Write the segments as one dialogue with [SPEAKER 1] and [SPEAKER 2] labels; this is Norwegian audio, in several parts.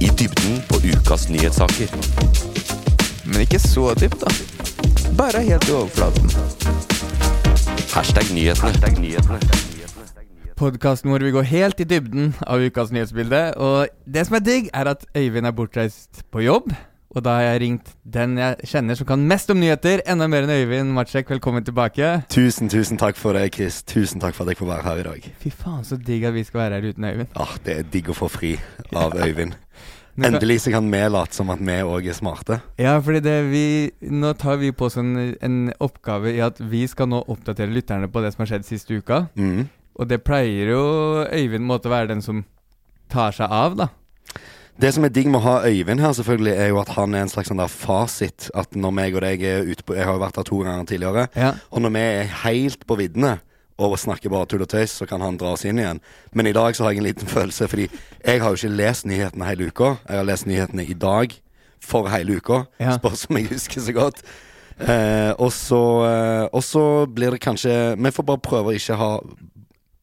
[SPEAKER 1] I dybden på ukas nyhetssaker. Men ikke så dypt, da. Bare helt i overflaten. Hashtag nyhetene.
[SPEAKER 2] podkasten hvor vi går helt i dybden av ukas nyhetsbilde. Og det som er digg, er at Øyvind er bortreist på jobb. Og da har jeg ringt den jeg kjenner som kan mest om nyheter, enda mer enn Øyvind Matsjek. Velkommen tilbake.
[SPEAKER 3] Tusen, tusen takk for det, Chris. Tusen takk for at jeg får være her i dag.
[SPEAKER 2] Fy faen, så digg at vi skal være her uten Øyvind.
[SPEAKER 3] Ah, det er digg å få fri av Øyvind.
[SPEAKER 2] Nå kan-
[SPEAKER 3] Endelig så kan vi late som at vi òg er smarte.
[SPEAKER 2] Ja, fordi det vi Nå tar vi på oss en, en oppgave i at vi skal nå oppdatere lytterne på det som har skjedd siste uka.
[SPEAKER 3] Mm.
[SPEAKER 2] Og det pleier jo Øyvind måtte være den som tar seg av, da.
[SPEAKER 3] Det som er digg med å ha Øyvind her, selvfølgelig, er jo at han er en slags sånn der fasit. At når meg og deg er ute på Jeg har jo vært her to ganger tidligere.
[SPEAKER 2] Ja.
[SPEAKER 3] Og når vi er helt på viddene og snakker bare tull og tøys, så kan han dra oss inn igjen. Men i dag så har jeg en liten følelse, fordi jeg har jo ikke lest nyhetene hele uka. Jeg har lest nyhetene i dag for hele uka,
[SPEAKER 2] Ja.
[SPEAKER 3] spørs om jeg husker så godt. Eh, og, så, eh, og så blir det kanskje Vi får bare prøve å ikke ha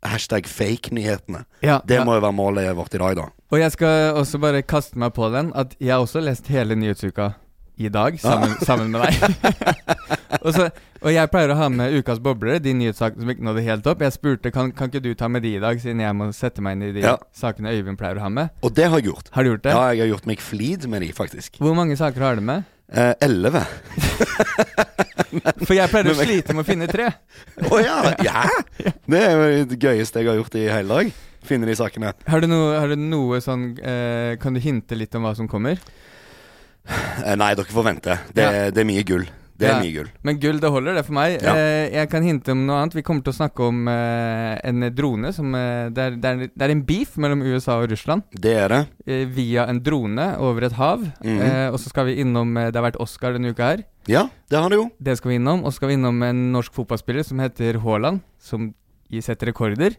[SPEAKER 3] hashtag fake-nyhetene.
[SPEAKER 2] Ja,
[SPEAKER 3] Det
[SPEAKER 2] ja.
[SPEAKER 3] må jo være målet vårt i dag, da.
[SPEAKER 2] Og jeg skal også bare kaste meg på den at jeg har også lest hele nyhetsuka i dag, sammen,
[SPEAKER 3] Ah.
[SPEAKER 2] sammen med deg. og, så, og jeg pleier å ha med ukas boblere, de nyhetssakene som ikke nådde helt opp. Jeg spurte kan, kan ikke du ta med de i dag, siden jeg må sette meg inn i de
[SPEAKER 3] Ja.
[SPEAKER 2] sakene Øyvind pleier å ha med.
[SPEAKER 3] Og det har jeg gjort.
[SPEAKER 2] Har du gjort det?
[SPEAKER 3] Ja, jeg har gjort meg flid med de, faktisk.
[SPEAKER 2] Hvor mange saker har du med?
[SPEAKER 3] Eh, 11.
[SPEAKER 2] For jeg pleier å
[SPEAKER 3] Men-
[SPEAKER 2] slite med å finne tre.
[SPEAKER 3] Å ja! ja. Det er jo det gøyeste jeg har gjort i hele dag. Finne de sakene.
[SPEAKER 2] Har du noe, har du noe sånn eh, Kan du hinte litt om hva som kommer?
[SPEAKER 3] Eh, nei, dere får vente. Det,
[SPEAKER 2] Ja.
[SPEAKER 3] det er mye gull. Det er
[SPEAKER 2] Ja.
[SPEAKER 3] mye gull.
[SPEAKER 2] Men gull, det holder, det for meg.
[SPEAKER 3] Ja.
[SPEAKER 2] Eh, jeg kan hinte om noe annet. Vi kommer til å snakke om eh, en drone som eh, det, er, det, er, det er en beef mellom USA og Russland
[SPEAKER 3] Det er det.
[SPEAKER 2] eh, via en drone over et hav.
[SPEAKER 3] Mhm.
[SPEAKER 2] eh, og så skal vi innom eh, Det har vært Oscar denne uka her.
[SPEAKER 3] Ja, det har det jo.
[SPEAKER 2] Det skal vi innom. Og så skal vi innom en norsk fotballspiller som heter Haaland, som i- setter rekorder.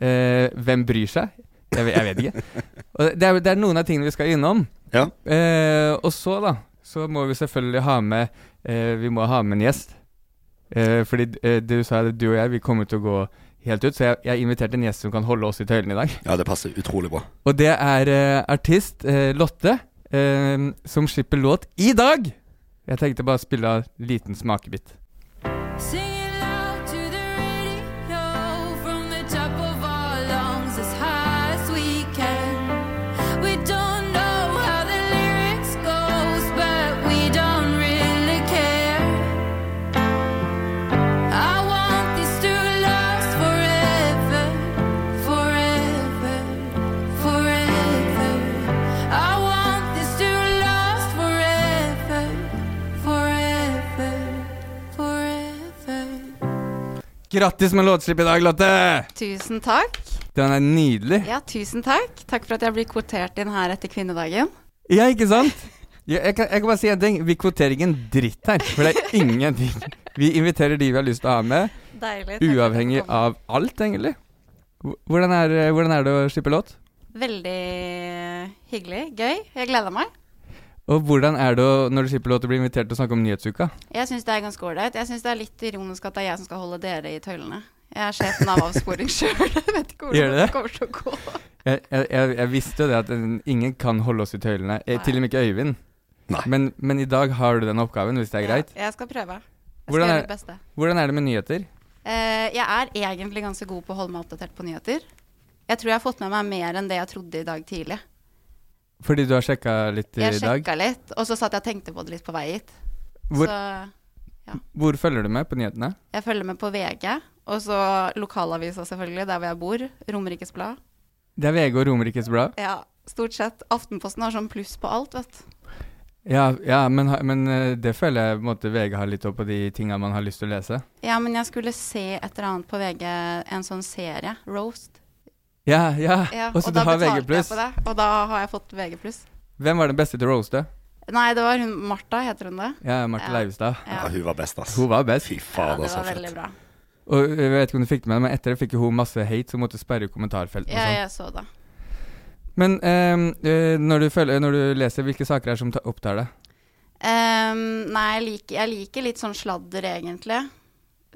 [SPEAKER 2] Eh, hvem bryr seg? Jeg, vet- jeg vet ikke. Og det, er, det er noen av tingene vi skal innom.
[SPEAKER 3] Ja.
[SPEAKER 2] Eh, og så, da, så må vi selvfølgelig ha med eh, Vi må ha med en gjest. Eh, fordi eh, du sa at du og jeg, vi kommer til å gå helt ut. Så jeg, jeg inviterte en gjest som kan holde oss i tøylene i dag.
[SPEAKER 3] Ja, det passer utrolig bra.
[SPEAKER 2] Og det er eh, artist eh, Lotte, eh, som slipper låt i dag! Jeg tenkte bare å spille av en liten smakebit.
[SPEAKER 4] Sing it loud to the radio from the top of our lungs as high as we can. We don't know how the lyrics goes, but we don't really care. I want this to last forever, forever, forever. I want this to last forever, forever, forever.
[SPEAKER 2] Grattis med låtslipp i dag, Lotte!
[SPEAKER 5] Tusen takk.
[SPEAKER 2] Den er nydelig.
[SPEAKER 5] Ja, tusen takk. Takk for at jeg blir kvotert inn her etter kvinnedagen.
[SPEAKER 2] Ja, ikke sant? Ja, jeg, kan, jeg kan bare si en ting. Vi kvoterer ikke en dritt her. For det er ingenting. Vi inviterer de vi har lyst til å ha med.
[SPEAKER 5] Deilig. takk for at
[SPEAKER 2] Uavhengig
[SPEAKER 5] du kom.
[SPEAKER 2] av alt, egentlig. Hvor- Hvordan er, eh, hvordan er det å slippe låt?
[SPEAKER 5] Veldig hyggelig. Gøy. Jeg gleder meg.
[SPEAKER 2] Og hvordan er det å, når du slipper låt, å bli invitert til å snakke om nyhetsuka?
[SPEAKER 5] Jeg syns det er ganske ålreit. Jeg syns det er litt ironisk at det er jeg som skal holde dere i tøylene. Jeg er sjefen av avsporing sjøl. Jeg vet ikke
[SPEAKER 2] Gjør
[SPEAKER 5] hvordan
[SPEAKER 2] det?
[SPEAKER 5] det kommer til å gå.
[SPEAKER 2] Jeg, jeg, jeg, jeg visste jo det at en- ingen kan holde oss i tøylene. Eh, Til og med ikke Øyvind.
[SPEAKER 3] Nei.
[SPEAKER 2] Men, men i dag har du den oppgaven, hvis det er greit.
[SPEAKER 5] Ja, Jeg skal prøve. Jeg skal
[SPEAKER 2] Hvordan
[SPEAKER 5] gjøre
[SPEAKER 2] er-
[SPEAKER 5] mitt beste.
[SPEAKER 2] Hvordan er det med nyheter?
[SPEAKER 5] Eh, jeg er egentlig ganske god på å holde meg oppdatert på nyheter. Jeg tror jeg har fått med meg mer enn det jeg trodde i dag tidlig.
[SPEAKER 2] Fordi du har sjekka litt i
[SPEAKER 5] Jeg
[SPEAKER 2] dag.
[SPEAKER 5] sjekka litt, og så satt jeg og tenkte på det litt på vei hit.
[SPEAKER 2] Hvor,
[SPEAKER 5] Så
[SPEAKER 2] hvor følger du med på nyhetene?
[SPEAKER 5] jeg følger med på VG, og så lokalavisa selvfølgelig, der hvor jeg bor. Romerikes Blad.
[SPEAKER 2] Det er VG og Romerikes Blad.
[SPEAKER 5] Ja, stort sett. Aftenposten har sånn pluss på alt, vet du.
[SPEAKER 2] Ja, ja men, ha- men eh, det føler jeg på en måte VG har litt opp på de tinga man har lyst til å lese.
[SPEAKER 5] Ja, men jeg skulle se et eller annet på VG, en sånn serie, Roast.
[SPEAKER 2] Ja, ja.
[SPEAKER 5] Ja,
[SPEAKER 2] og så du
[SPEAKER 5] da
[SPEAKER 2] har
[SPEAKER 5] betalte
[SPEAKER 2] VG+.
[SPEAKER 5] jeg på det, og da har jeg fått VG
[SPEAKER 2] Hvem var den beste til å roaste?
[SPEAKER 5] Nei, det var hun Martha, heter hun det?
[SPEAKER 2] Ja, Marte
[SPEAKER 5] Ja.
[SPEAKER 2] Leivestad.
[SPEAKER 5] Ja,
[SPEAKER 3] Ja, hun var best, ass.
[SPEAKER 2] Hun var best.
[SPEAKER 3] Fy
[SPEAKER 5] ja
[SPEAKER 3] fader,
[SPEAKER 5] det
[SPEAKER 3] så
[SPEAKER 5] var veldig
[SPEAKER 3] fett.
[SPEAKER 5] bra.
[SPEAKER 2] Og eh, jeg vet ikke om du fikk det med deg, men etter det fikk jo hun masse hate, så hun måtte sperre kommentarfeltene og
[SPEAKER 5] Ja,
[SPEAKER 2] sånn.
[SPEAKER 5] jeg så det.
[SPEAKER 2] Men ehm, eh, når, du følger, når du leser, hvilke saker er det som ta- opptar deg?
[SPEAKER 5] Ehm, nei, jeg liker, jeg liker litt sånn sladder, egentlig.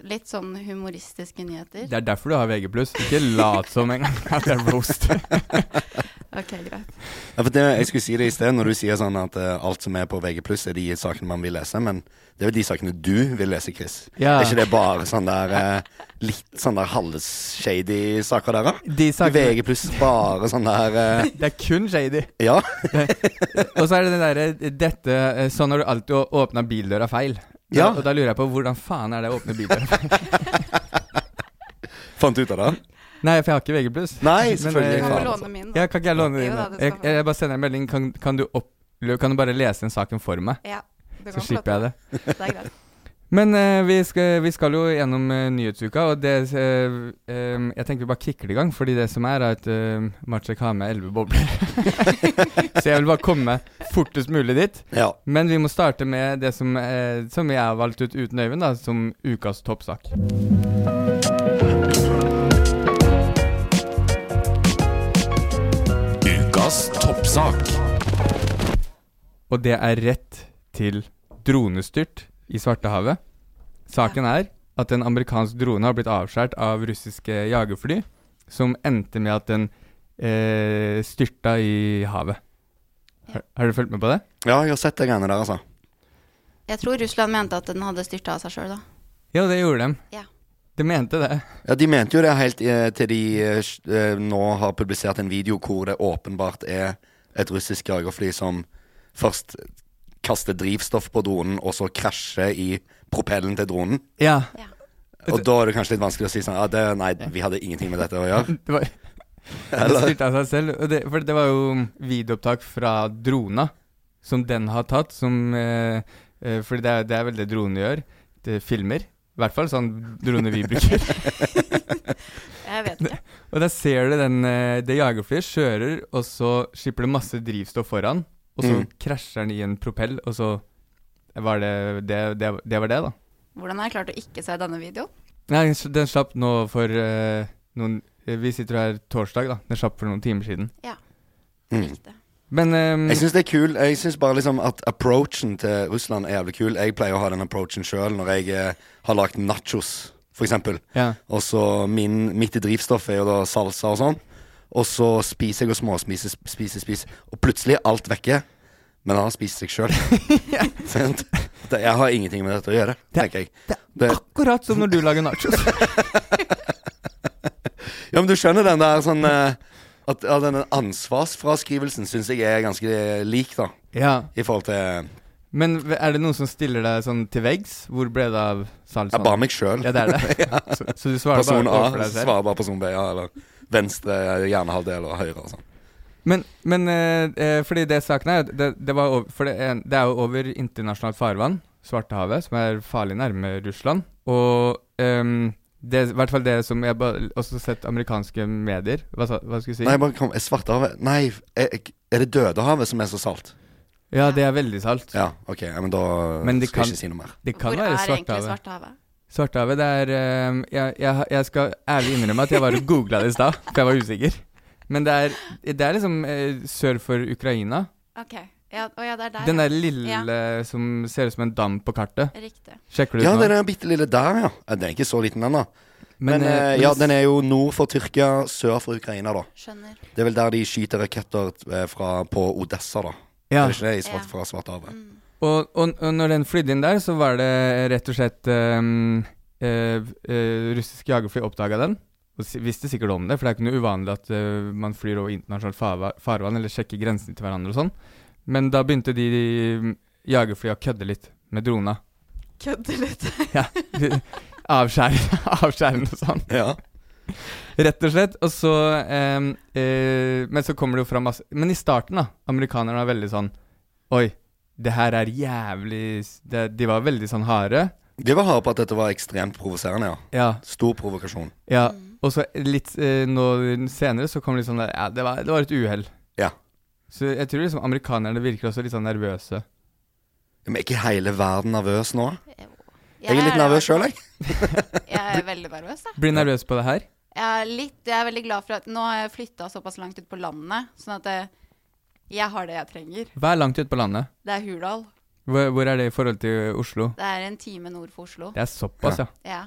[SPEAKER 5] Litt sånn humoristiske nyheter.
[SPEAKER 2] Det er derfor du har VG+. Ikke lat som engang at det er roast.
[SPEAKER 5] Ok, greit.
[SPEAKER 3] Ja, for det, jeg skulle si det i sted, når du sier sånn at eh, alt som er på VG+, er de sakene man vil lese, men det er jo de sakene du vil lese, Chris.
[SPEAKER 2] Ja.
[SPEAKER 3] Er ikke det bare sånn der eh, litt sånn der halvshady saker der, da?
[SPEAKER 2] De sakene
[SPEAKER 3] VG+, bare sånn der eh,
[SPEAKER 2] Det er kun shady.
[SPEAKER 3] Ja.
[SPEAKER 2] Og så er det den derre dette eh, Sånn har du alltid å- åpna bildøra feil.
[SPEAKER 3] Ja.
[SPEAKER 2] Og da lurer jeg på hvordan faen er det å åpne bildøra feil?
[SPEAKER 3] Fant du ut av det?
[SPEAKER 2] Nei, for jeg har ikke VG+.
[SPEAKER 3] Nei,
[SPEAKER 2] Men,
[SPEAKER 3] selvfølgelig.
[SPEAKER 5] Du
[SPEAKER 2] eh,
[SPEAKER 5] kan få
[SPEAKER 3] faen, altså.
[SPEAKER 5] låne min, da.
[SPEAKER 2] Ja, kan ikke jeg låne
[SPEAKER 5] Jo
[SPEAKER 2] dine?
[SPEAKER 5] da, det skal
[SPEAKER 2] Jeg,
[SPEAKER 5] du få.
[SPEAKER 2] jeg bare sender en melding. Kan, kan, du opp, kan du bare lese den saken for meg?
[SPEAKER 5] Ja, du
[SPEAKER 2] Så
[SPEAKER 5] kan få lov
[SPEAKER 2] slipper jeg det.
[SPEAKER 5] til det. Det er greit.
[SPEAKER 2] Men eh, vi, skal, vi skal jo gjennom eh, nyhetsuka, og det eh, em, Jeg tenker vi bare kicker det i gang, fordi det som er, er at uh, Matsjek har med elleve bobler. Så jeg vil bare komme fortest mulig dit.
[SPEAKER 3] Ja.
[SPEAKER 2] Men vi må starte med det som, eh, som jeg har valgt ut uten Øyvind, da, som ukas toppsak.
[SPEAKER 1] Ukas toppsak.
[SPEAKER 2] Og det er rett til dronestyrt i Svartehavet. Saken er at en amerikansk drone har blitt avskåret av russiske jagerfly, som endte med at den eh, styrta i havet. Har, har du fulgt med på det?
[SPEAKER 3] ja, jeg har sett de greiene der, altså.
[SPEAKER 5] Jeg tror Russland mente at den hadde styrta av seg sjøl, da.
[SPEAKER 2] Ja, det gjorde de.
[SPEAKER 5] Ja.
[SPEAKER 2] De mente det.
[SPEAKER 3] Ja, De mente jo det helt eh, til de eh, s- eh, nå har publisert en video hvor det åpenbart er et russisk jagerfly som først kaster drivstoff på dronen, og så krasjer i propellen til dronen.
[SPEAKER 2] Ja.
[SPEAKER 5] Ja.
[SPEAKER 3] Og da er det kanskje litt vanskelig å si sånn ah, det, Nei, vi hadde ingenting med dette å gjøre.
[SPEAKER 2] Det var Den styrta av seg selv. Og det, for det var jo videoopptak fra drona som den har tatt, som eh, eh, Fordi det er, det er vel det droner gjør. Det filmer. I hvert fall sånn droner vi bruker.
[SPEAKER 5] Jeg vet ikke.
[SPEAKER 2] Og der ser du den, eh, det jagerflyet kjører, og så skipper det masse drivstoff foran. Og så
[SPEAKER 3] Mm.
[SPEAKER 2] krasjer den i en propell, og så var det det, det, det, var det da.
[SPEAKER 5] Hvordan har jeg klart å ikke se denne videoen?
[SPEAKER 2] Nei, den s- den slapp nå for eh, noen eh, Vi sitter jo her torsdag, da. Den slapp for noen timer siden.
[SPEAKER 3] Mm.
[SPEAKER 5] Riktig.
[SPEAKER 2] Men ehm,
[SPEAKER 3] Jeg syns det er kul. Jeg synes bare liksom at approachen til Russland er jævlig kul. Jeg pleier å ha den approachen sjøl når jeg eh, har lagd nachos, f.eks.
[SPEAKER 2] ja.
[SPEAKER 3] Og så min, mitt i drivstoff er jo da salsa og sånn. Og så spiser jeg og småspiser, spiser, spiser. Og plutselig er alt vekke. Men han har spist seg sjøl. jeg har ingenting med dette å gjøre, tenker jeg.
[SPEAKER 2] Det
[SPEAKER 3] Det-
[SPEAKER 2] er akkurat som når du lager nachos.
[SPEAKER 3] Ja, men du skjønner den der sånn eh, At ja, denne ansvarsfraskrivelsen syns jeg er ganske lik, da.
[SPEAKER 2] ja.
[SPEAKER 3] I forhold til
[SPEAKER 2] Men v- er det noen som stiller deg sånn til veggs? Hvor ble det av
[SPEAKER 3] Sånn. Ja,
[SPEAKER 2] salsaen?
[SPEAKER 3] bare meg sjøl.
[SPEAKER 2] Ja, det er det. så, så du svarer
[SPEAKER 3] Person
[SPEAKER 2] bare
[SPEAKER 3] A
[SPEAKER 2] overfor deg selv?
[SPEAKER 3] svarer bare person B, ja, eller venstre hjernehalvdel og høyre og sånn.
[SPEAKER 2] Men, men eh, eh, fordi det saken er Det, det, var over, for det, er- det er jo over internasjonalt farvann, Svartehavet, som er farlig nærme Russland. Og ehm, det i hvert fall det som jeg ba, også har sett amerikanske medier Hva, sa- hva skulle jeg si?
[SPEAKER 3] Nei, bare kom, er Svartehavet Nei, er, er det Dødehavet som er så salt?
[SPEAKER 2] ja, det er veldig salt.
[SPEAKER 3] Ja, OK, ja, men da
[SPEAKER 2] Men de
[SPEAKER 3] skal
[SPEAKER 2] kan-
[SPEAKER 3] jeg ikke si noe mer.
[SPEAKER 2] Det kan
[SPEAKER 5] Hvor
[SPEAKER 2] være
[SPEAKER 5] er egentlig
[SPEAKER 2] Svartehavet.
[SPEAKER 5] Svartehavet?
[SPEAKER 2] Svartehavet, det er ehm, jeg, jeg, jeg skal ærlig innrømme at jeg bare googla det i stad, for jeg var usikker. Men det er, det er liksom eh, sør for Ukraina.
[SPEAKER 5] Ok. Ja, å ja, det er der.
[SPEAKER 2] Den
[SPEAKER 5] ja.
[SPEAKER 2] der lille som ser ut som en dam på kartet.
[SPEAKER 5] Riktig.
[SPEAKER 2] Sjekker du ut
[SPEAKER 3] Ja,
[SPEAKER 2] nå?
[SPEAKER 3] det er den bitte lille der, ja. Ja, Den er ikke så liten ennå. Men,
[SPEAKER 2] eh,
[SPEAKER 3] eh, ja, den er jo nord for Tyrkia, sør for Ukraina, da.
[SPEAKER 5] Skjønner.
[SPEAKER 3] Det er vel der de skyter raketter eh, fra, på Odessa, da.
[SPEAKER 2] ja.
[SPEAKER 3] Er det ikke det? I svart,
[SPEAKER 5] Ja.
[SPEAKER 3] fra Svartehavet.
[SPEAKER 2] Og, og, og når den flydde inn der, så var det rett og slett ehm, eh, eh, russiske jagerfly oppdaga den. Og si- visste sikkert om det, for det er ikke noe uvanlig at eh, man flyr over internasjonalt farva- farvann eller sjekker grensene til hverandre og sånn. Men da begynte de, de mm, jagerflya å kødde litt med drona.
[SPEAKER 5] Kødde litt.
[SPEAKER 2] Avskjære, avskjære den og sånn.
[SPEAKER 3] Ja.
[SPEAKER 2] Rett og slett. Og så ehm, eh, Men så kommer det jo fram masse Men i starten, da. Amerikanerne var veldig sånn Oi, det her er jævlig s- det, De var veldig sånn harde.
[SPEAKER 3] De var harde på at dette var ekstremt provoserende, ja.
[SPEAKER 2] Ja.
[SPEAKER 3] Stor provokasjon.
[SPEAKER 2] ja. Og så litt eh, nå senere så kom det litt sånn der, Ja, det var, det var et uhell.
[SPEAKER 3] Ja.
[SPEAKER 2] Så jeg tror liksom amerikanerne virker også litt sånn nervøse.
[SPEAKER 3] Men er ikke hele verden nervøs nå?
[SPEAKER 5] Jeg
[SPEAKER 3] Jeg er litt nervøs sjøl, jeg.
[SPEAKER 5] Jeg er veldig nervøs, jeg.
[SPEAKER 2] Blir nervøs på det her.
[SPEAKER 5] Jeg er, litt, jeg er veldig glad for at nå har jeg flytta såpass langt ut på landet, sånn at jeg, jeg har det jeg trenger.
[SPEAKER 2] Vær langt ute på landet.
[SPEAKER 5] Det er Hurdal.
[SPEAKER 2] Hvor, hvor er det i forhold til Oslo?
[SPEAKER 5] Det er en time nord for Oslo.
[SPEAKER 2] Det er såpass, ja.
[SPEAKER 5] Ja.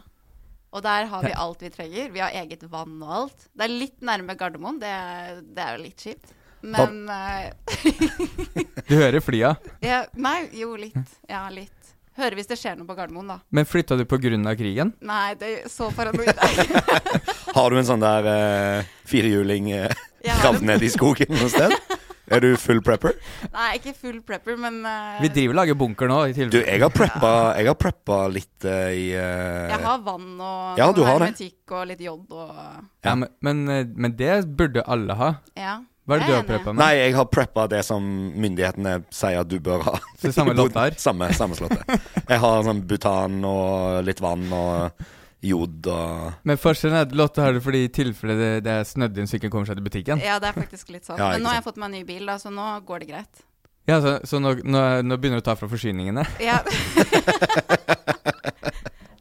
[SPEAKER 5] Og der har vi alt vi trenger. Vi har eget vann og alt. Det er litt nærme Gardermoen, det er, det er jo litt kjipt. Men eh,
[SPEAKER 2] Du hører flya.
[SPEAKER 5] ja, Nei, jo, litt. Ja, litt. Hører hvis det skjer noe på Gardermoen, da.
[SPEAKER 2] Men flytta du på grunn av krigen?
[SPEAKER 5] Nei, det er så paranoid. Jeg
[SPEAKER 3] Har du en sånn der eh, firehjuling eh,
[SPEAKER 5] Jeg har
[SPEAKER 3] gravd
[SPEAKER 5] en-
[SPEAKER 3] ned i skogen noe sted? Er du full prepper?
[SPEAKER 5] Nei, ikke full prepper, men eh,
[SPEAKER 2] Vi driver og lager bunker nå. i
[SPEAKER 3] Du,
[SPEAKER 2] tilfelle
[SPEAKER 3] jeg har preppa, jeg har preppa litt eh, i eh,
[SPEAKER 5] jeg har vann og
[SPEAKER 3] Ja, du
[SPEAKER 5] sånn
[SPEAKER 3] har det.
[SPEAKER 5] hermetikk og litt jod og
[SPEAKER 2] Ja, men, men, eh, men det burde alle ha.
[SPEAKER 5] Ja.
[SPEAKER 2] Hva er det du
[SPEAKER 5] Jeg er
[SPEAKER 2] har
[SPEAKER 5] enig.
[SPEAKER 2] preppa med?
[SPEAKER 3] Nei, jeg har preppa det som myndighetene sier at du bør ha.
[SPEAKER 2] Så samme lott her?
[SPEAKER 3] Samme, samme slottet. Jeg har sånn butan og litt vann og jod og
[SPEAKER 2] Men forskjellen er at Lotte har det fordi i tilfelle det, det er snødd inn så ikke kommer seg til butikken.
[SPEAKER 5] Ja, det er faktisk litt sånn.
[SPEAKER 3] Ja, ikke
[SPEAKER 5] men nå har jeg
[SPEAKER 3] sant.
[SPEAKER 5] fått meg en ny bil, da, så nå går det greit.
[SPEAKER 2] Ja, Så, så nå, nå, nå begynner du å ta fra forsyningene.
[SPEAKER 5] Ja.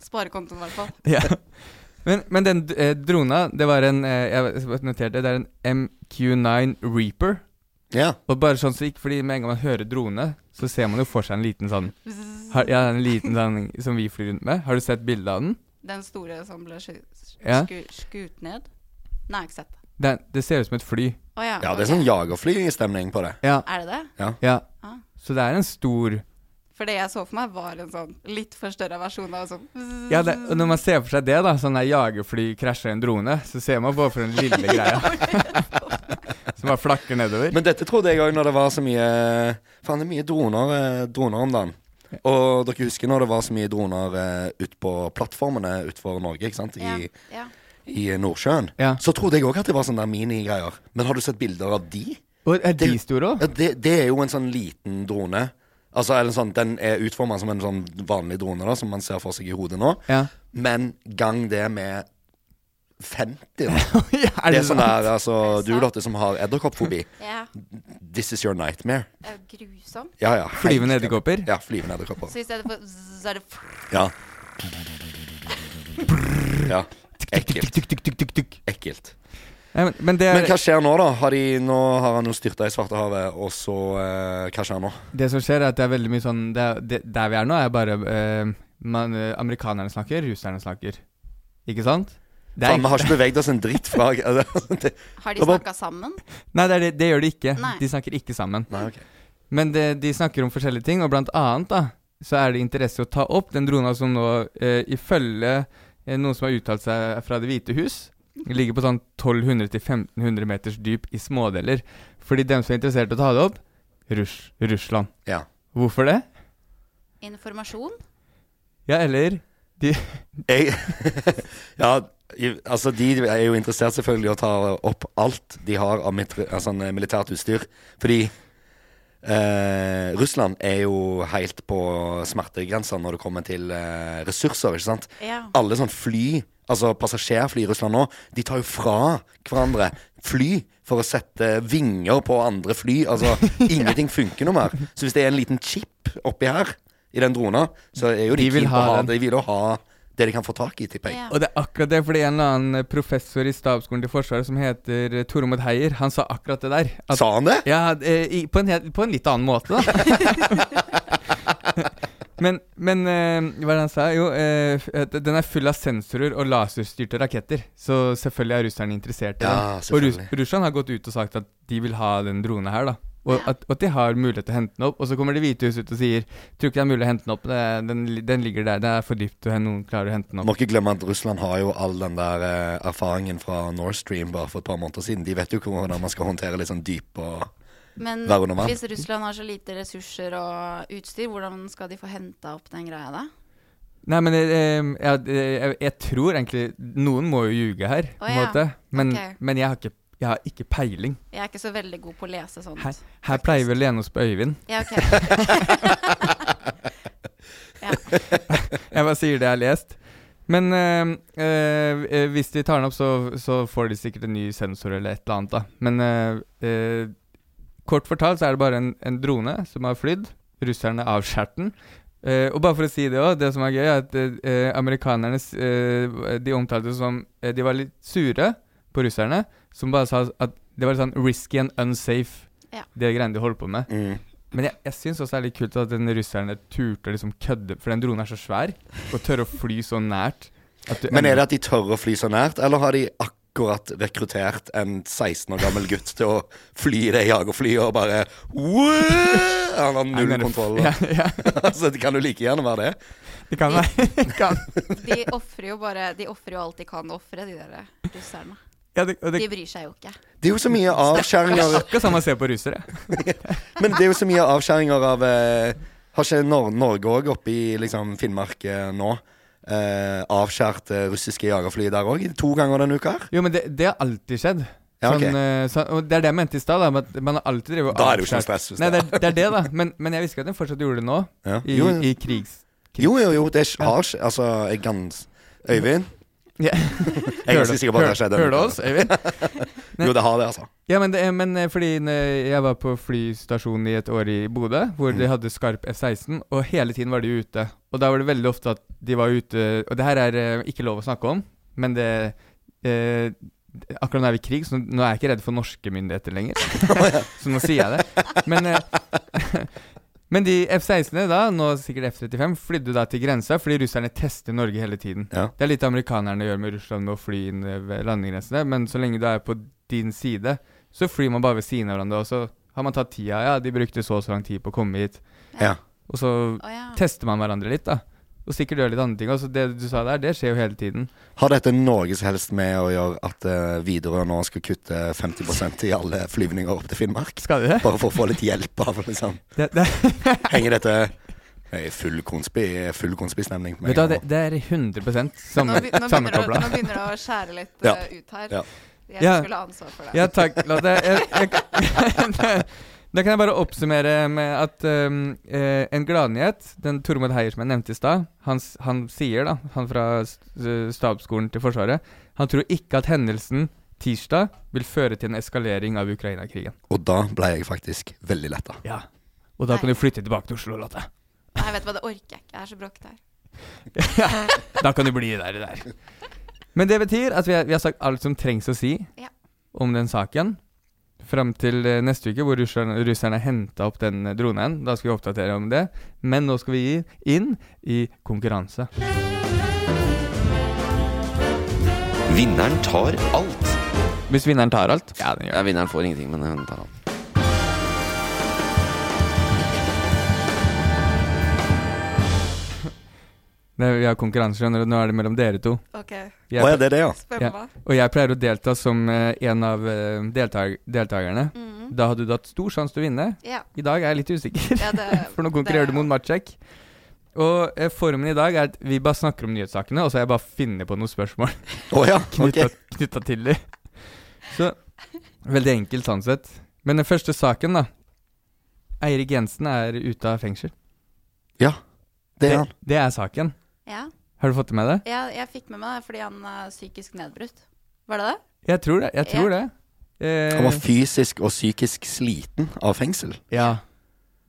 [SPEAKER 5] Sparekontoen, i hvert fall.
[SPEAKER 2] Ja. Men, men den eh, drona, det var en eh, Jeg noterte, det er en MQ9 Reaper.
[SPEAKER 3] Ja.
[SPEAKER 2] Og bare sånn så ikke, fordi med en gang man hører drone, så ser man jo for seg en liten sånn har, Ja, en liten sånn som vi flyr rundt med. Har du sett bilde av den?
[SPEAKER 5] Den store som ble sku,
[SPEAKER 2] Ja.
[SPEAKER 5] sku, skutt ned? Nei, ikke sett.
[SPEAKER 2] Det, det ser ut som et fly.
[SPEAKER 5] Å ja.
[SPEAKER 3] ja, det er
[SPEAKER 5] ok.
[SPEAKER 3] sånn jagerflystemning på det.
[SPEAKER 2] Ja.
[SPEAKER 5] Er det det?
[SPEAKER 2] ja.
[SPEAKER 5] Ah.
[SPEAKER 2] Så det er en stor
[SPEAKER 5] For det jeg så for meg, var en sånn litt forstørra versjon av sånn bzz.
[SPEAKER 2] Ja, det, og når man ser for seg det, da, sånn der jagerfly krasjer en drone, så ser man bare for den lille greia. Som bare flakker nedover.
[SPEAKER 3] Men dette trodde jeg òg når det var så mye Faen, det er mye droner, eh, droner om dagen. Og dere husker når det var så mye droner eh, ut på plattformene utenfor Norge, ikke sant? I,
[SPEAKER 5] ja.
[SPEAKER 3] i Nordsjøen.
[SPEAKER 2] Ja.
[SPEAKER 3] Så trodde jeg òg at det var sånne der minigreier. Men har du sett bilder av de?
[SPEAKER 2] Og er de
[SPEAKER 3] Det-
[SPEAKER 2] store òg?
[SPEAKER 3] Ja, det, det er jo en sånn liten drone. Altså, eller sånn, Den er utforma som en sånn vanlig drone, da, som man ser for seg i hodet nå.
[SPEAKER 2] Ja.
[SPEAKER 3] Men gang det med 50, da.
[SPEAKER 2] er
[SPEAKER 3] Det
[SPEAKER 2] det
[SPEAKER 3] er sånn
[SPEAKER 2] sånn?
[SPEAKER 3] der, altså, du Lotte som har edderkoppfobi.
[SPEAKER 5] ja.
[SPEAKER 3] This is your nightmare.
[SPEAKER 5] Det er jo grusomt.
[SPEAKER 3] Ja, ja.
[SPEAKER 2] Flyvende
[SPEAKER 3] helt-
[SPEAKER 2] edderkopper?
[SPEAKER 3] Ja, flyvende edderkopper.
[SPEAKER 5] Så i stedet for bzz, så er det frrr.
[SPEAKER 3] Ja. ja. Ekkelt.
[SPEAKER 2] Tuk, tuk, tuk, tuk, tuk.
[SPEAKER 3] Ekkelt.
[SPEAKER 2] Ja, men, men det,
[SPEAKER 3] Men hva
[SPEAKER 2] er,
[SPEAKER 3] skjer nå, da? Har de, nå har han jo styrta i Svartehavet, og så eh, Hva skjer nå?
[SPEAKER 2] det som skjer, er at det er veldig mye sånn det, er- det, Der vi er nå, er bare eh, man, eh, Amerikanerne snakker, russerne snakker. Ikke sant? Det er
[SPEAKER 3] Faen, vi
[SPEAKER 2] ikke,
[SPEAKER 3] har ikke beveget oss en dritt fra altså, det,
[SPEAKER 5] Har de
[SPEAKER 3] Det var-
[SPEAKER 5] snakka sammen?
[SPEAKER 2] nei, det, er, det, det gjør de ikke.
[SPEAKER 5] Nei.
[SPEAKER 2] De snakker ikke sammen.
[SPEAKER 3] Nei, ok.
[SPEAKER 2] Men det, de snakker om forskjellige ting, og blant annet da, så er det interesse å ta opp den drona som nå, eh, ifølge eh, noen som har uttalt seg fra Det hvite hus, ligger på sånn 1200-1500 meters dyp i smådeler. Fordi dem som er interessert i å ta det opp, Russ, Russland.
[SPEAKER 3] Ja.
[SPEAKER 2] Hvorfor det?
[SPEAKER 5] Informasjon?
[SPEAKER 2] Ja, eller de,
[SPEAKER 3] Jeg, ja, i- altså de er jo interessert selvfølgelig i å ta opp alt de har av mitri- av sånn eh, militært utstyr. Fordi eh, Russland er jo helt på smertegrensa når det kommer til eh, ressurser, ikke sant.
[SPEAKER 5] Ja.
[SPEAKER 3] Alle sånn fly, altså passasjerfly i Russland nå, de tar jo fra hverandre fly for å sette vinger på andre fly. Altså ingenting funker noe mer. Så hvis det er en liten chip oppi her, i den drona, så er jo de,
[SPEAKER 2] De vil
[SPEAKER 3] keen på
[SPEAKER 2] ha
[SPEAKER 3] å ha
[SPEAKER 2] den.
[SPEAKER 3] De vil jo ha det de kan få tak i, tipper jeg.
[SPEAKER 5] Ja.
[SPEAKER 2] Og det er akkurat det, fordi en eller annen professor i stabsskolen til Forsvaret som heter eh, Tormod Heier, han sa akkurat det der. At,
[SPEAKER 3] Sa han det?
[SPEAKER 2] Ja, eh, i, på, en helt, på en litt annen måte, da. men men eh, hva er det han sa? Jo, eh, f- at den er full av sensorer og laserstyrte raketter. Så selvfølgelig er russerne interessert i
[SPEAKER 3] Ja,
[SPEAKER 2] den. Og Rus
[SPEAKER 3] selvfølgelig.
[SPEAKER 2] Russland har gått ut og sagt at de vil ha den dronen her, da. Og at, og at de har mulighet til å hente den opp. Og så kommer Det hvite hus ut og sier Tror ikke det er mulig å hente den opp. Det, er- den, li- den ligger der. Det er for dypt til at noen klarer å hente den
[SPEAKER 3] Må
[SPEAKER 2] opp.
[SPEAKER 3] ikke glemme at Russland har jo all den der eh, erfaringen fra Nord Stream bare for et par måneder siden. De vet jo hvordan man skal håndtere litt sånn dyp og
[SPEAKER 5] Men
[SPEAKER 3] Vær under vann.
[SPEAKER 5] hvis Russland har så lite ressurser og utstyr, hvordan skal de få henta opp den greia da?
[SPEAKER 2] Nei, men eh, jeg, jeg, jeg tror egentlig Noen må jo ljuge her, på en
[SPEAKER 5] Å ja,
[SPEAKER 2] måte. Men,
[SPEAKER 5] ok.
[SPEAKER 2] men jeg, har ikke, jeg har ikke peiling.
[SPEAKER 5] Jeg er ikke så veldig god på å lese sånt.
[SPEAKER 2] Her, her pleier vi å lene oss på Øyvind.
[SPEAKER 5] Ja, ok.
[SPEAKER 2] Jeg bare sier det jeg har lest. Men eh, eh, eh, hvis de tar den opp, så, så får de sikkert en ny sensor eller et eller annet. da. Men eh, eh, kort fortalt så er det bare en, en drone som har flydd. Russerne avskjært den. Eh, og bare for å si det òg, det som er gøy, er at eh, amerikanerne s- eh, De omtalte det som eh, De var litt sure på russerne, som bare sa at det var litt sånn risky and unsafe,
[SPEAKER 5] Ja.
[SPEAKER 2] det greiene de holdt på med.
[SPEAKER 3] mm.
[SPEAKER 2] Men jeg, jeg syns også det er litt kult at den russerne turte å liksom kødde For den dronen er så svær, og tør å fly så nært. At du
[SPEAKER 3] Men er det at de tør å fly så nært, eller har de akkurat rekruttert en 16 år gammel gutt til å fly i det jagerflyet og bare «Whoa!» Han har null kontroll.
[SPEAKER 2] Ja, ja,
[SPEAKER 3] altså, det kan jo like gjerne være det.
[SPEAKER 2] det kan være. kan.
[SPEAKER 5] De ofrer jo bare De ofrer jo alt de kan ofre, de der russerne.
[SPEAKER 2] Ja, det, og det,
[SPEAKER 5] De bryr seg jo ikke.
[SPEAKER 3] Det er jo så mye avskjæringer
[SPEAKER 2] akkurat som man ser på russere.
[SPEAKER 3] Men det er jo så mye avskjæringer av eh, Har ikke Nor Norge òg oppe i liksom, Finnmark eh, nå? Eh, avskjært eh, russiske jagerfly der òg, to ganger denne uka? her?
[SPEAKER 2] Jo, men det, det har alltid skjedd.
[SPEAKER 3] Ja, ok.
[SPEAKER 2] Sånn, eh, så, og Det er det jeg mente i stad. da, at Man har alltid drevet og
[SPEAKER 3] Da er det jo ikke noe
[SPEAKER 2] avskjært-
[SPEAKER 3] stress hvis
[SPEAKER 2] Nei, det
[SPEAKER 3] det
[SPEAKER 2] er, det er det, da. Men, men jeg visste ikke at den fortsatt gjorde det nå.
[SPEAKER 3] Ja.
[SPEAKER 2] I,
[SPEAKER 3] Jo, jo.
[SPEAKER 2] i krigs...
[SPEAKER 3] Jo, jo, jo, det er- har ikke Altså, jeg gans... Øyvind?
[SPEAKER 2] Ja.
[SPEAKER 3] Jeg er ganske sikker på at det har skjedd. denne
[SPEAKER 2] Hører du
[SPEAKER 3] uka.
[SPEAKER 2] oss, Øyvind?
[SPEAKER 3] Jo, det har det, altså.
[SPEAKER 2] Ja, men, det, men eh, fordi eh, jeg var på flystasjonen i et år i Bodø, hvor de hadde skarp F-16, og hele tiden var de ute. Og da var det veldig ofte at de var ute Og det her er eh, ikke lov å snakke om, men det eh, Akkurat nå er vi i krig, så nå er jeg ikke redd for norske myndigheter lenger. så nå sier jeg det. Men, eh, men de F-16-ene, da, nå sikkert F-35, flydde da til grensa fordi russerne tester Norge hele tiden.
[SPEAKER 3] Ja.
[SPEAKER 2] Det er litt amerikanerne gjør med Russland med å fly inn eh, ved landegrensene, men så lenge du er på din side, så flyr man bare ved siden av hverandre, og så har man tatt tida. Ja, de brukte så og så lang tid på å komme hit.
[SPEAKER 3] Ja.
[SPEAKER 2] Og så
[SPEAKER 5] Å ja.
[SPEAKER 2] tester man hverandre litt, da. Og sikkert gjør litt andre ting. Og så det du sa der, det skjer jo hele tiden.
[SPEAKER 3] Har dette noe som helst med å gjøre at eh, Widerøe nå skal kutte 50 i alle flyvninger opp til Finnmark?
[SPEAKER 2] Skal de det?
[SPEAKER 3] Bare for å få litt hjelp av liksom
[SPEAKER 2] det, det
[SPEAKER 3] Henger dette Jeg er full konspi Full konspistemning på meg.
[SPEAKER 2] vet du hva, det,
[SPEAKER 3] nå.
[SPEAKER 2] det er 100
[SPEAKER 5] Nå,
[SPEAKER 2] samme,
[SPEAKER 5] be- nå, begynner det,
[SPEAKER 2] sammenkobla.
[SPEAKER 5] å- nå begynner det å skjære litt
[SPEAKER 3] Ja.
[SPEAKER 5] eh, ut her.
[SPEAKER 3] Ja.
[SPEAKER 5] Jeg
[SPEAKER 2] Ja.
[SPEAKER 5] skulle ha ansvar for det.
[SPEAKER 2] Ja, takk. La det, jeg, jeg, da kan jeg bare oppsummere med at um, eh, en gladnyhet Den Tormod Heier som jeg nevnte i stad, han, s- han sier, da, han fra st- stabsskolen til Forsvaret, han tror ikke at hendelsen tirsdag vil føre til en eskalering av Ukraina-krigen.
[SPEAKER 3] Og da ble jeg faktisk veldig letta.
[SPEAKER 2] Ja. Og da kan du flytte tilbake til Oslo, Lotte.
[SPEAKER 5] Nei, vet du hva, det orker jeg ikke. Jeg er så bråkete her.
[SPEAKER 2] Da kan du bli der, der. Men det betyr at vi har, vi har sagt alt som trengs å si
[SPEAKER 5] Ja.
[SPEAKER 2] om den saken. Fram til eh, neste uke, hvor russerne, russerne henta opp den eh, dronen. Da skal vi oppdatere om det. Men nå skal vi gi inn i konkurranse.
[SPEAKER 1] Vinneren tar alt.
[SPEAKER 2] Hvis vinneren tar alt. Ja, den
[SPEAKER 1] Ja, vinneren får ingenting, men hun tar alt.
[SPEAKER 2] det. Vi har konkurranse, skjønner du. Nå er det mellom dere to.
[SPEAKER 5] Ok,
[SPEAKER 2] Jeg,
[SPEAKER 3] Å ja, det er det, ja.
[SPEAKER 5] spennende.
[SPEAKER 2] Og jeg pleier å delta som eh, en av eh, delta- deltakerne. Da hadde du hatt stor sjanse til å vinne.
[SPEAKER 5] Ja.
[SPEAKER 2] I dag er jeg litt usikker.
[SPEAKER 5] ja det,
[SPEAKER 2] For nå konkurrerer du mot Matsjek. Og eh, formen i dag er at vi bare snakker om nyhetssakene, og så har jeg bare funnet på noen spørsmål
[SPEAKER 3] Å ja, ok.
[SPEAKER 2] knytta knytta til dem. Så veldig enkelt sånn sett. Men den første saken, da. Eirik Jensen er ute av fengsel.
[SPEAKER 3] Ja, det er han.
[SPEAKER 2] det er saken.
[SPEAKER 5] Ja.
[SPEAKER 2] Har du fått det med deg?
[SPEAKER 5] Jeg, jeg fikk med meg det fordi han er psykisk nedbrutt. Var det det?
[SPEAKER 2] Jeg tror det. Jeg tror det.
[SPEAKER 3] Han var
[SPEAKER 2] Eh,
[SPEAKER 3] fysisk og psykisk sliten av fengsel.
[SPEAKER 2] ja.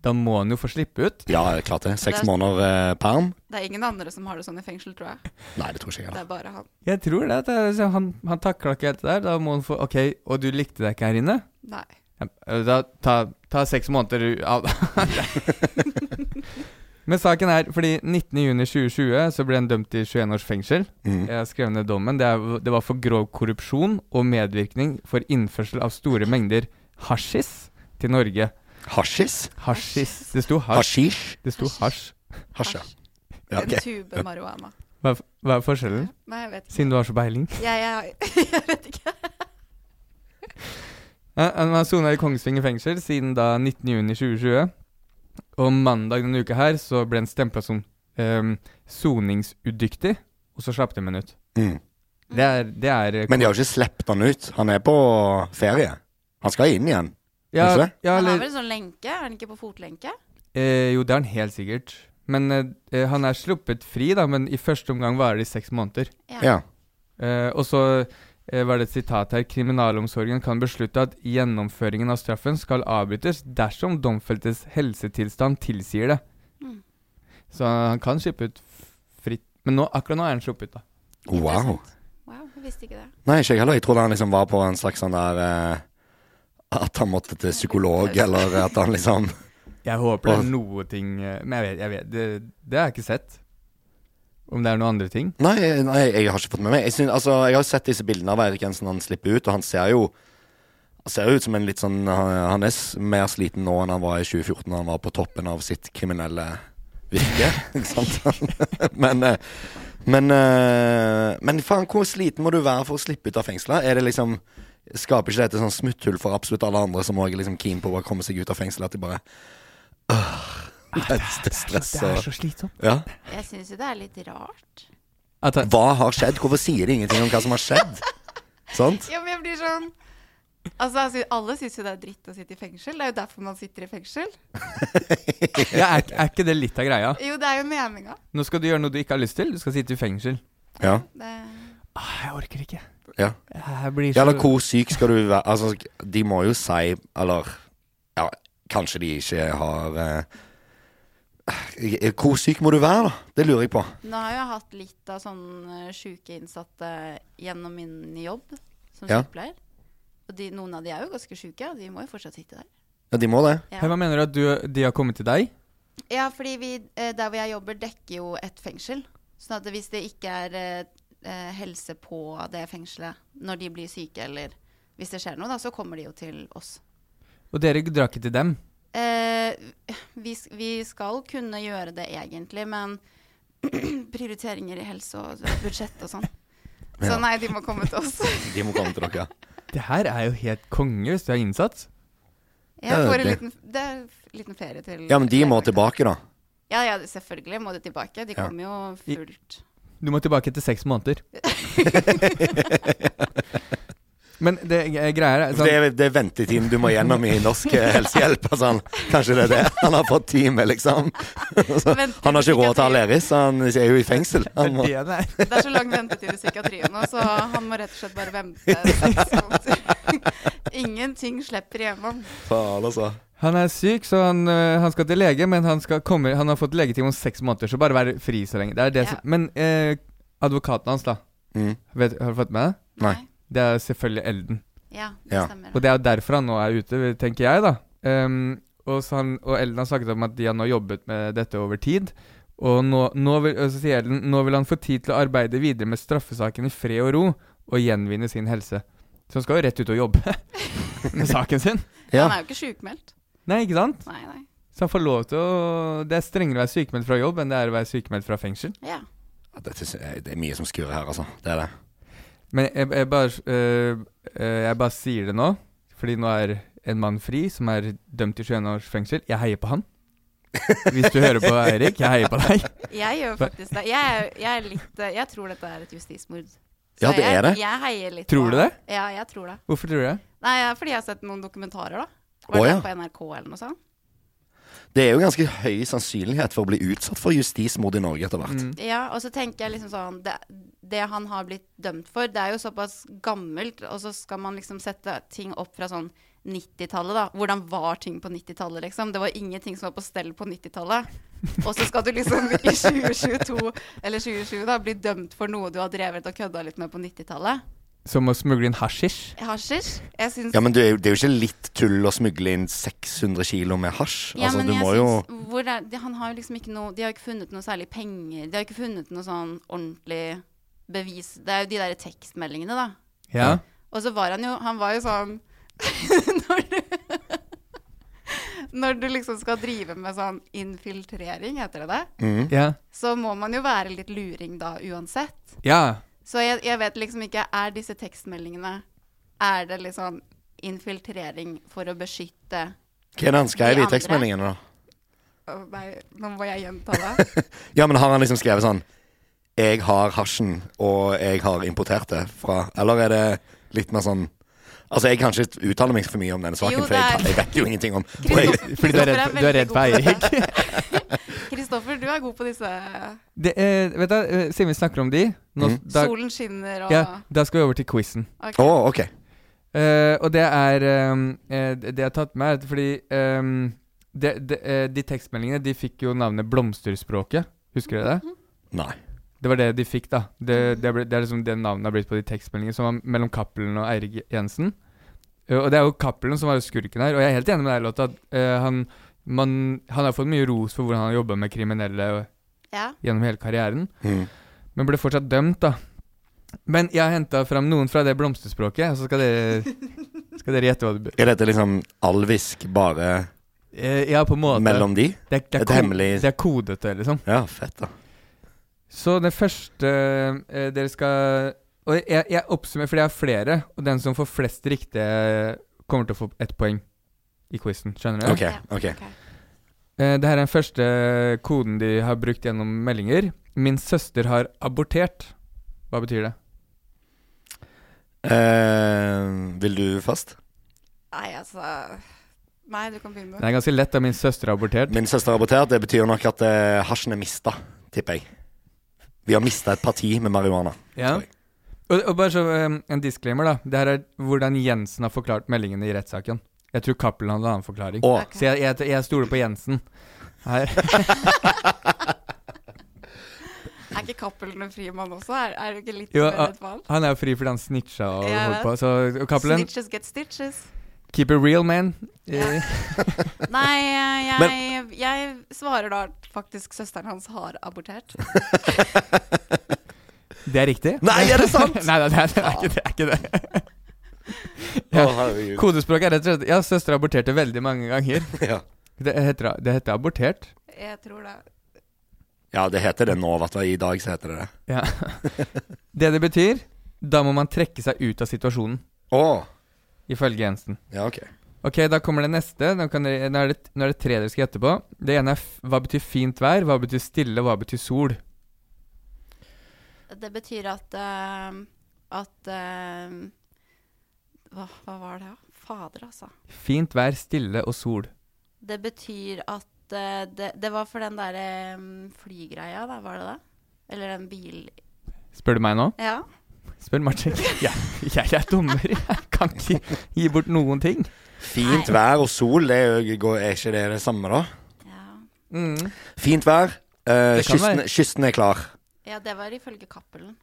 [SPEAKER 2] Da må han jo få slippe ut.
[SPEAKER 3] Ja, klart det. Seks
[SPEAKER 5] Det er-
[SPEAKER 3] måneder eh, perm?
[SPEAKER 5] Det er ingen andre som har det sånn i fengsel, tror jeg.
[SPEAKER 3] Nei, det tror ikke jeg.
[SPEAKER 5] Det
[SPEAKER 3] da.
[SPEAKER 5] er bare han.
[SPEAKER 2] Jeg tror det. at det er, liksom- han han takla ikke helt det der. Da må han få OK, og du likte deg ikke her inne?
[SPEAKER 5] Nei.
[SPEAKER 2] Ja, Da, ta, ta seks måneder av Men saken er, fordi 19.6.2020 så ble han dømt til 21 års fengsel. Jeg har skrevet ned dommen. Det, er, det var for grov korrupsjon og medvirkning for innførsel av store mengder hasjis til Norge.
[SPEAKER 3] Hasjis?
[SPEAKER 2] Hasjis. Det sto hasj.
[SPEAKER 3] Hasjish?
[SPEAKER 2] Det sto hasj.
[SPEAKER 3] Hasja. Ja,
[SPEAKER 5] En
[SPEAKER 3] ok.
[SPEAKER 5] tube marihuana.
[SPEAKER 2] Hva, er- hva er forskjellen?
[SPEAKER 5] Nei, jeg vet ikke.
[SPEAKER 2] Siden du har så peiling.
[SPEAKER 5] Jeg, jeg, jeg vet ikke.
[SPEAKER 2] Ja, Han har sona i Kongsvinger fengsel siden da 19.6.2020. Og mandag denne uka her så ble han stempla som ehm, soningsudyktig, og så slapp de ham ut.
[SPEAKER 3] Mm.
[SPEAKER 2] Det er, det er eh,
[SPEAKER 3] Men de har jo ikke sluppet han ut. Han er på ferie. Han skal inn igjen.
[SPEAKER 2] ja,
[SPEAKER 3] ikke det?
[SPEAKER 2] ja,
[SPEAKER 5] Han har
[SPEAKER 2] eller,
[SPEAKER 5] vel en sånn lenke? Er han ikke på fotlenke?
[SPEAKER 2] eh, Jo, det er han helt sikkert. Men eh, han er sluppet fri, da, men i første omgang varer det i seks måneder.
[SPEAKER 3] Ja.
[SPEAKER 2] Eh, og så eh, var det et sitat her. Kriminalomsorgen kan beslutte at gjennomføringen av straffen skal avbrytes dersom domfeltes helsetilstand tilsier det.
[SPEAKER 5] Mm.
[SPEAKER 2] Så han kan slippe ut f- fritt. Men nå, akkurat nå er han sluppet, da.
[SPEAKER 3] Wow.
[SPEAKER 5] Interessant. Wow, jeg visste ikke det.
[SPEAKER 3] Nei, ikke jeg heller. Jeg trodde han liksom var på en slags sånn der eh, At han måtte til psykolog, eller at han liksom
[SPEAKER 2] Jeg håper det
[SPEAKER 3] Åh.
[SPEAKER 2] er noe ting eh, Men jeg vet, jeg vet det, det har jeg ikke sett. Om det er noen andre ting.
[SPEAKER 3] Nei, nei jeg har ikke fått med meg. Jeg, synes, altså, jeg har sett disse bildene av Eirik Jensen han slipper ut, og han ser jo han ser jo ut som en litt sånn Han han er s- mer sliten nå enn han var i 2014, da han var på toppen av sitt kriminelle virke. ikke sant? men eh, men, eh, men faen, hvor sliten må du være for å slippe ut av fengselet? Er det liksom Skaper ikke dette sånn smutthull for absolutt alle andre som òg er liksom keen på å bare komme seg ut av fengselet? At de bare øh, det, det stresser
[SPEAKER 2] så slitsomt.
[SPEAKER 3] ja.
[SPEAKER 5] Jeg syns jo det er litt rart.
[SPEAKER 2] At han,
[SPEAKER 3] Hva har skjedd? Hvorfor sier de ingenting om hva som har skjedd? Sant?
[SPEAKER 5] Ja, men jeg blir sånn Altså, jeg synes- Alle syns jo det er dritt å sitte i fengsel. Det er jo derfor man sitter i fengsel.
[SPEAKER 2] ja, er, er ikke det litt av greia?
[SPEAKER 5] Jo, det er jo meninga.
[SPEAKER 2] Nå skal du gjøre noe du ikke har lyst til. Du skal sitte i fengsel.
[SPEAKER 3] Ja.
[SPEAKER 5] Det-
[SPEAKER 2] Ah, jeg orker ikke.
[SPEAKER 3] ja.
[SPEAKER 2] Jeg blir så
[SPEAKER 3] ja eller hvor syk skal du være? Altså, de må jo si Eller ja, kanskje de ikke har eh, Hvor syk må du være, da? Det lurer jeg på.
[SPEAKER 5] Nå har jeg hatt litt av sånn eh, sjuke innsatte gjennom min jobb som
[SPEAKER 3] Ja.
[SPEAKER 5] sykepleier. Og de, noen av de er jo ganske sjuke, og de må jo fortsatt sitte der.
[SPEAKER 3] Ja, de må det.
[SPEAKER 2] Hei, Hva mener du at du, de har kommet til deg?
[SPEAKER 5] Ja, fordi vi, eh, der hvor jeg jobber, dekker jo et fengsel. Sånn at hvis det ikke er eh, eh, helse på det fengselet når de blir syke, eller hvis det skjer noe, da, så kommer de jo til oss.
[SPEAKER 2] Og dere drar ikke til dem?
[SPEAKER 5] Eh, vi, s- vi skal kunne gjøre det egentlig, men prioriteringer i helse og budsjett og sånn. Så
[SPEAKER 3] Ja.
[SPEAKER 5] nei, de må komme til oss.
[SPEAKER 3] De må komme til dere.
[SPEAKER 2] Det her er jo helt konge hvis du er innsatt.
[SPEAKER 5] Jeg får en
[SPEAKER 3] det-
[SPEAKER 5] liten, det er en liten ferie til
[SPEAKER 3] Ja, men de må
[SPEAKER 5] legevakta.
[SPEAKER 3] tilbake, da.
[SPEAKER 5] Ja, ja, selvfølgelig må de tilbake. De
[SPEAKER 3] Ja.
[SPEAKER 5] kommer jo
[SPEAKER 2] I-
[SPEAKER 5] fullt
[SPEAKER 2] Du må tilbake etter seks måneder. Men det eh, greia er
[SPEAKER 3] Det
[SPEAKER 2] sånn,
[SPEAKER 3] er, det er ventetiden du må gjennom i norsk eh, helsehjelp. Altså, han, kanskje det er det. Han har fått time, liksom. Så, han har ikke råd til Aleris, så han er jo i fengsel. Han må,
[SPEAKER 2] det der.
[SPEAKER 5] Det er så lang ventetid i psykiatrien nå, så han må rett og slett bare vente. seks måneder. Ingenting slipper hjemme.
[SPEAKER 3] faen, altså.
[SPEAKER 2] Han er syk, så han, eh, han skal til lege, men han, skal komme, han har fått legetime om seks måneder, så bare vær fri så lenge. Det er det
[SPEAKER 5] Ja.
[SPEAKER 2] som, men eh, advokaten hans, da.
[SPEAKER 3] Mm.
[SPEAKER 2] Vet, har du fått med det?
[SPEAKER 3] Nei.
[SPEAKER 2] Det er selvfølgelig Elden.
[SPEAKER 5] Ja, det
[SPEAKER 3] Ja.
[SPEAKER 5] stemmer.
[SPEAKER 2] Og det er jo derfor han nå er ute, tenker jeg, da. Ehm, og, så han, og Ellen har snakket om at de har nå jobbet med dette over tid. Og nå, nå, vil, og så sier Ellen, nå vil han få tid til å arbeide videre med straffesaken i fred og ro, og gjenvinne sin helse. Så han skal jo rett ut og jobbe med saken sin.
[SPEAKER 3] Ja.
[SPEAKER 5] Han er jo ikke sjukmeldt.
[SPEAKER 2] Nei, ikke sant?
[SPEAKER 5] Nei, nei.
[SPEAKER 2] Så han får lov til å Det er strengere å være sykemeldt fra jobb enn det er å være sykemeldt fra fengsel.
[SPEAKER 5] Ja.
[SPEAKER 3] Ja, Dette, sy- eh, det er mye som skurrer her, altså. Det er det.
[SPEAKER 2] Men jeg, jeg, bare, øh, øh, jeg bare sier det nå, fordi nå er en mann fri som er dømt til 21 års fengsel. Jeg heier på han. Hvis du hører på Eirik, jeg heier på deg.
[SPEAKER 5] Jeg gjør faktisk det. Jeg, er- jeg, er litt, eh, jeg tror dette er et justismord. Så
[SPEAKER 3] Ja, det
[SPEAKER 5] jeg,
[SPEAKER 3] er det.
[SPEAKER 5] Jeg heier litt
[SPEAKER 2] Tror
[SPEAKER 5] på
[SPEAKER 2] du
[SPEAKER 5] han.
[SPEAKER 2] det?
[SPEAKER 5] Ja, jeg tror det.
[SPEAKER 2] Hvorfor tror du det?
[SPEAKER 5] Nei, ja, fordi jeg har sett noen dokumentarer, da. Var
[SPEAKER 3] Å,
[SPEAKER 5] det
[SPEAKER 3] ja.
[SPEAKER 5] på NRK eller noe sånt?
[SPEAKER 3] Det er jo ganske høy sannsynlighet for å bli utsatt for justismord i Norge etter hvert.
[SPEAKER 5] Ja, og så tenker jeg liksom sånn det, det han har blitt dømt for, det er jo såpass gammelt, og så skal man liksom sette ting opp fra sånn 90-tallet, da. Hvordan var ting på 90-tallet, liksom? Det var ingenting som var på stell på 90-tallet. Og så skal du liksom i 2022, eller 2020, da, bli dømt for noe du har drevet og kødda litt med på 90-tallet.
[SPEAKER 2] Som å smugle inn hasjisj?
[SPEAKER 5] Hasjisj? Jeg syns
[SPEAKER 3] Ja, men det er, jo, det er jo ikke litt tull å smugle inn 600 kilo med hasj.
[SPEAKER 5] Ja,
[SPEAKER 3] altså,
[SPEAKER 5] men
[SPEAKER 3] du
[SPEAKER 5] jeg
[SPEAKER 3] må jo
[SPEAKER 5] syns- hvor er, de, Han har jo liksom ikke noe De har ikke funnet noe særlig penger. De har ikke funnet noe sånn ordentlig bevis. Det er jo de der tekstmeldingene, da.
[SPEAKER 2] Ja.
[SPEAKER 5] Og så var han jo Han var jo sånn Når du Når du liksom skal drive med sånn infiltrering, heter det
[SPEAKER 3] Mm.
[SPEAKER 5] det,
[SPEAKER 2] Ja.
[SPEAKER 5] så må man jo være litt luring da uansett.
[SPEAKER 2] ja.
[SPEAKER 5] Så jeg, jeg vet liksom ikke, er disse tekstmeldingene Er det liksom infiltrering for å beskytte
[SPEAKER 3] Hva er det han skrev
[SPEAKER 5] De
[SPEAKER 3] i
[SPEAKER 5] andre.
[SPEAKER 3] tekstmeldingene, da?
[SPEAKER 5] Å, Nei, nå må jeg gjenta det.
[SPEAKER 3] Ja, men har han liksom skrevet sånn Jeg har hasjen, og jeg har importert det fra Eller er det litt mer sånn Altså, jeg kan ikke uttale meg for mye om denne saken,
[SPEAKER 5] Jo,
[SPEAKER 3] for jeg,
[SPEAKER 5] det er-
[SPEAKER 3] kan- jeg vet jo ingenting om og jeg,
[SPEAKER 5] Kristoffer-
[SPEAKER 2] Fordi du er redd, du er redd for
[SPEAKER 5] Kristoffer er veldig god
[SPEAKER 2] eierhegg.
[SPEAKER 5] på dette. Kristoffer, du er god på disse
[SPEAKER 2] Det er, vet du, eh, siden vi snakker om de, nå, da,
[SPEAKER 5] Solen skinner og
[SPEAKER 2] ja, da skal vi over til quizen.
[SPEAKER 5] Ok.
[SPEAKER 3] Å, ok.
[SPEAKER 2] Eh, og det er ehm, eh, Det jeg har tatt med, er at fordi ehm, det, det, eh, De tekstmeldingene De fikk jo navnet Blomsterspråket. Husker dere det?
[SPEAKER 3] Nei.
[SPEAKER 2] Det var det de fikk, da. Det, det, ble, det er liksom det navnet har blitt på de tekstmeldingene som var mellom Cappelen og Eirik Jensen. Eh, og det er jo Cappelen som var skurken her, og jeg er helt enig med deg, Lotta. At, eh, han, man, han har fått mye ros for hvordan han har jobba med kriminelle
[SPEAKER 5] Ja.
[SPEAKER 2] gjennom hele karrieren.
[SPEAKER 3] Mm.
[SPEAKER 2] Men ble fortsatt dømt, da. Men jeg har henta fram noen fra det blomsterspråket, og så skal dere, skal dere gjette hva det
[SPEAKER 3] Er dette liksom alvisk bare
[SPEAKER 2] Eh, Ja, på en måte.
[SPEAKER 3] mellom de?
[SPEAKER 2] det er, det er
[SPEAKER 3] et
[SPEAKER 2] ko-
[SPEAKER 3] hemmelig-
[SPEAKER 2] Det er kodete, liksom.
[SPEAKER 3] Ja, fett, da.
[SPEAKER 2] Så det første eh, dere skal Og jeg, jeg oppsummerer, for jeg har flere, og den som får flest riktige, kommer til å få ett poeng i quizen. Skjønner du?
[SPEAKER 3] Ok, ok.
[SPEAKER 2] Eh, det her er den første eh, koden de har brukt gjennom meldinger. 'Min søster har abortert'. Hva betyr det?
[SPEAKER 3] Eh, vil du først?
[SPEAKER 5] Nei, altså Nei, du kan begynne.
[SPEAKER 2] Den er ganske lett, da. 'Min søster har abortert'.
[SPEAKER 3] Min søster har abortert. Det betyr nok at eh, hasjen er mista, tipper jeg. Vi har mista et parti med marihuana.
[SPEAKER 2] Ja.
[SPEAKER 3] Sorry.
[SPEAKER 2] Og, og bare så eh, en disclaimer, da. Det her er hvordan Jensen har forklart meldingene i rettssaken. Jeg tror Cappelen hadde en annen forklaring.
[SPEAKER 3] Og
[SPEAKER 2] Så jeg, jeg, jeg stoler på Jensen. Her.
[SPEAKER 5] Er ikke Cappelen en frimann også? Er, er du ikke litt
[SPEAKER 2] Jo,
[SPEAKER 5] jo,
[SPEAKER 2] ja.
[SPEAKER 5] mer rettvann?
[SPEAKER 2] Han er jo fri fordi han snitcha og
[SPEAKER 5] Jeg
[SPEAKER 2] holdt
[SPEAKER 5] vet.
[SPEAKER 2] på. Så og Cappelen,
[SPEAKER 5] Snitches get stitches.
[SPEAKER 2] keep it real, man. Eh,
[SPEAKER 5] Nei, eh, jeg, jeg svarer da at faktisk søsteren hans har abortert.
[SPEAKER 2] Det er riktig.
[SPEAKER 3] Nei, er det sant?
[SPEAKER 2] nei, nei, det er, det er ikke det. Er ikke det. Ja.
[SPEAKER 3] Å, herregud.
[SPEAKER 2] Kodespråk er rett og slett Ja, søster aborterte veldig mange ganger.
[SPEAKER 3] ja.
[SPEAKER 2] Det heter, det heter abortert.
[SPEAKER 5] Jeg tror det.
[SPEAKER 3] ja, det heter det nå, vet du. I dag så heter det det.
[SPEAKER 2] Ja. Det det betyr, da må man trekke seg ut av situasjonen,
[SPEAKER 3] Å.
[SPEAKER 2] ifølge Jensen.
[SPEAKER 3] Ja, ok.
[SPEAKER 2] Ok, da kommer det neste. Nå, kan dere, nå, er, det, nå er det tre dere skal gjette på. Det ene er f hva betyr fint vær, hva betyr stille, hva betyr sol?
[SPEAKER 5] Det betyr at eh, At eh, hva, hva var det, da? Fader, altså.
[SPEAKER 2] Fint vær, stille og sol.
[SPEAKER 5] Det betyr at eh, det, det var for den derre flygreia, da, var det det? Eller den bil...
[SPEAKER 2] Spør du meg nå?
[SPEAKER 5] Ja.
[SPEAKER 2] Spør Martin. Jeg, jeg er dommer. Jeg kan ikke gi bort noen ting.
[SPEAKER 3] Fint vær og sol, det er, jo- går- er ikke det det samme, da?
[SPEAKER 5] Ja,
[SPEAKER 2] Mm.
[SPEAKER 3] Fint vær. eh,
[SPEAKER 2] Det kan
[SPEAKER 3] kysten,
[SPEAKER 2] være.
[SPEAKER 3] kysten er klar.
[SPEAKER 5] ja det var ifølge Cappelen.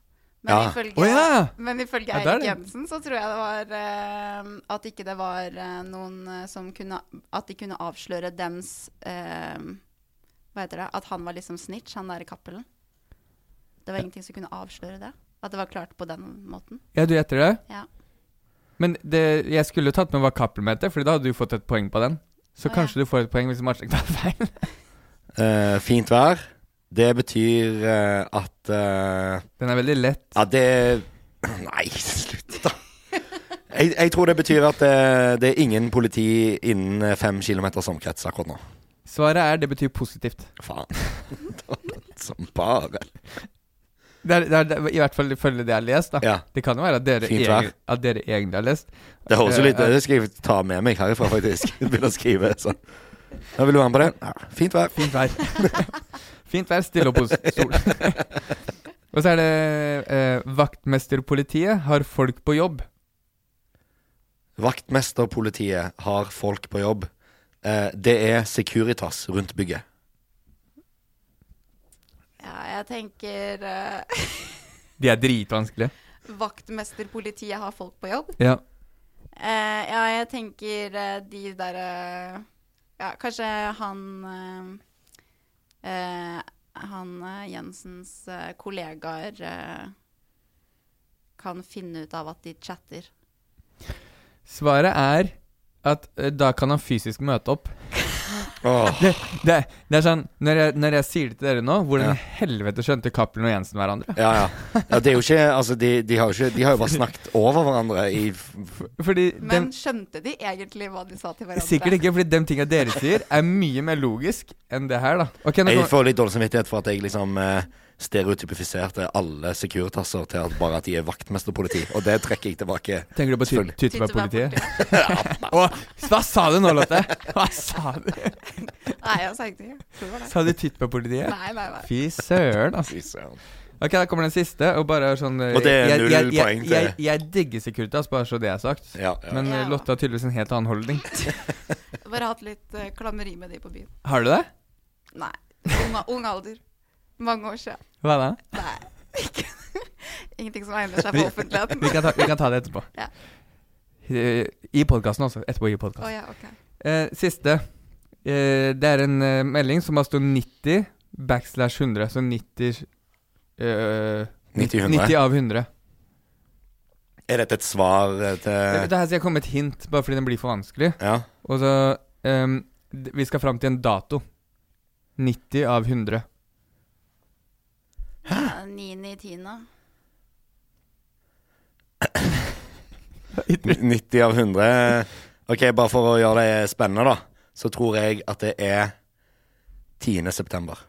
[SPEAKER 5] Men
[SPEAKER 3] Ja.
[SPEAKER 5] ifølge,
[SPEAKER 2] Å ja!
[SPEAKER 5] men ifølge
[SPEAKER 2] Ja, det er
[SPEAKER 5] Eirik
[SPEAKER 2] det.
[SPEAKER 5] Jensen så tror jeg det var eh, at ikke det var eh, noen eh, som kunne At de kunne avsløre dems eh, Hva heter det? At han var liksom snitch, han der Cappelen. Det var ingenting som kunne avsløre det. At det var klart på den måten.
[SPEAKER 2] Ja, du gjetter det?
[SPEAKER 5] Ja.
[SPEAKER 2] Men det, jeg skulle jo tatt med hva Cappelen mente, for da hadde du fått et poeng på den. Så
[SPEAKER 5] Å,
[SPEAKER 2] kanskje du får et poeng hvis Martin tar feil.
[SPEAKER 3] Eh, fint vær. Det betyr eh, at eh,
[SPEAKER 2] Den er veldig lett.
[SPEAKER 3] Ja, det Nei, slutt, da. Jeg, jeg tror det betyr at eh, det, det er ingen politi innen eh, fem kilometers omkrets akkurat nå.
[SPEAKER 2] Svaret er det betyr positivt.
[SPEAKER 3] Faen. Det var den Som bare.
[SPEAKER 2] Det er, det er, det er, I hvert fall ifølge det jeg har lest. da.
[SPEAKER 3] Ja.
[SPEAKER 2] Det kan jo være at dere,
[SPEAKER 3] Fint
[SPEAKER 2] egen,
[SPEAKER 3] vær.
[SPEAKER 2] at dere egentlig har lest.
[SPEAKER 3] Det høres jo litt
[SPEAKER 2] Eh,
[SPEAKER 3] Det skal jeg ta med meg herifra, faktisk. Begynne å skrive sånn. Ja, vil du være med på det? Ja. Fint vær.
[SPEAKER 2] Fint vær. Fint vær, stille og pos- sol. og så er det eh, Vaktmesterpolitiet har folk på jobb.
[SPEAKER 3] Vaktmesterpolitiet har folk på jobb. Eh, det er Securitas rundt bygget.
[SPEAKER 5] Ja, jeg tenker eh,
[SPEAKER 2] De er dritvanskelige.
[SPEAKER 5] Vaktmesterpolitiet har folk på jobb.
[SPEAKER 2] Ja.
[SPEAKER 5] Eh, ja, jeg tenker eh, de der eh, Ja, kanskje han eh, eh, Han eh, Jensens eh, kollegaer eh, kan finne ut av at de chatter.
[SPEAKER 2] Svaret er at eh, da kan han fysisk møte opp.
[SPEAKER 3] Åh,
[SPEAKER 2] Det, det, det er sånn når jeg, når jeg sier det til dere nå, hvordan
[SPEAKER 3] Ja.
[SPEAKER 2] i helvete skjønte Cappelen og Jensen hverandre?
[SPEAKER 3] ja, ja. ja, det er jo ikke Altså, de, de, har jo ikke, de har jo bare snakket over hverandre i f- f-
[SPEAKER 2] Fordi
[SPEAKER 5] Men
[SPEAKER 2] dem,
[SPEAKER 5] skjønte de egentlig hva de sa til hverandre?
[SPEAKER 2] Sikkert ikke, fordi de tinga dere sier, er mye mer logisk enn det her, da. Ok, nå
[SPEAKER 3] Jeg
[SPEAKER 2] kommer-
[SPEAKER 3] får litt dårlig samvittighet for at jeg liksom eh, stereotypifiserte alle Securitasser til at bare at de er vaktmesterpoliti, og det trekker jeg tilbake.
[SPEAKER 2] Tenker du på
[SPEAKER 3] Selvfølgelig.
[SPEAKER 2] Tyttebærpolitiet? Å, hva sa du nå, Lotte? Hva sa du?
[SPEAKER 5] Nei, jeg sa ikke det. Tror det var det.
[SPEAKER 2] Sa du Tyttebærpolitiet?
[SPEAKER 5] Nei, nei, nei.
[SPEAKER 2] Fy søren, altså.
[SPEAKER 3] Fy søren.
[SPEAKER 2] Ok, da kommer den siste, og bare sånn eh,
[SPEAKER 3] Og det er
[SPEAKER 2] jeg-
[SPEAKER 3] null
[SPEAKER 2] jeg- jeg-
[SPEAKER 3] poeng til-
[SPEAKER 2] Jeg, jeg digger Securitas, bare så det er sagt.
[SPEAKER 3] Ja, ja.
[SPEAKER 2] Men eh,
[SPEAKER 5] Ja.
[SPEAKER 2] Lotte har tydeligvis en helt annen holdning.
[SPEAKER 5] Jeg Bare hatt litt eh, klammeri med de på byen.
[SPEAKER 2] Har du det?
[SPEAKER 5] Nei. Ung, ung alder. Mange år siden.
[SPEAKER 2] Hva da?
[SPEAKER 5] Nei. Ikke. Ingenting som egner seg
[SPEAKER 2] Vi-
[SPEAKER 5] for offentligheten.
[SPEAKER 2] Vi kan ta, vi kan ta det etterpå.
[SPEAKER 5] Ja.
[SPEAKER 2] Eh, I podkasten også. Etterpå i podkasten.
[SPEAKER 5] Å ja, ok.
[SPEAKER 2] Eh, siste. Eh, det er en eh, melding som har stått 90 backslash 100. Så 90 eh,
[SPEAKER 3] 90 100.
[SPEAKER 2] 90 av 100.
[SPEAKER 3] Er dette et svar eh,
[SPEAKER 2] Uh,
[SPEAKER 3] til
[SPEAKER 2] det her skal jeg komme med et hint, bare fordi den blir for vanskelig.
[SPEAKER 3] Ja.
[SPEAKER 2] Og så ehm, d- Vi skal fram til en dato. 90 av 100.
[SPEAKER 5] Ja, Eh, Niende i tiende.
[SPEAKER 3] 90 av 100. Ok, bare for å gjøre det spennende, da, så tror jeg at det er 10. september.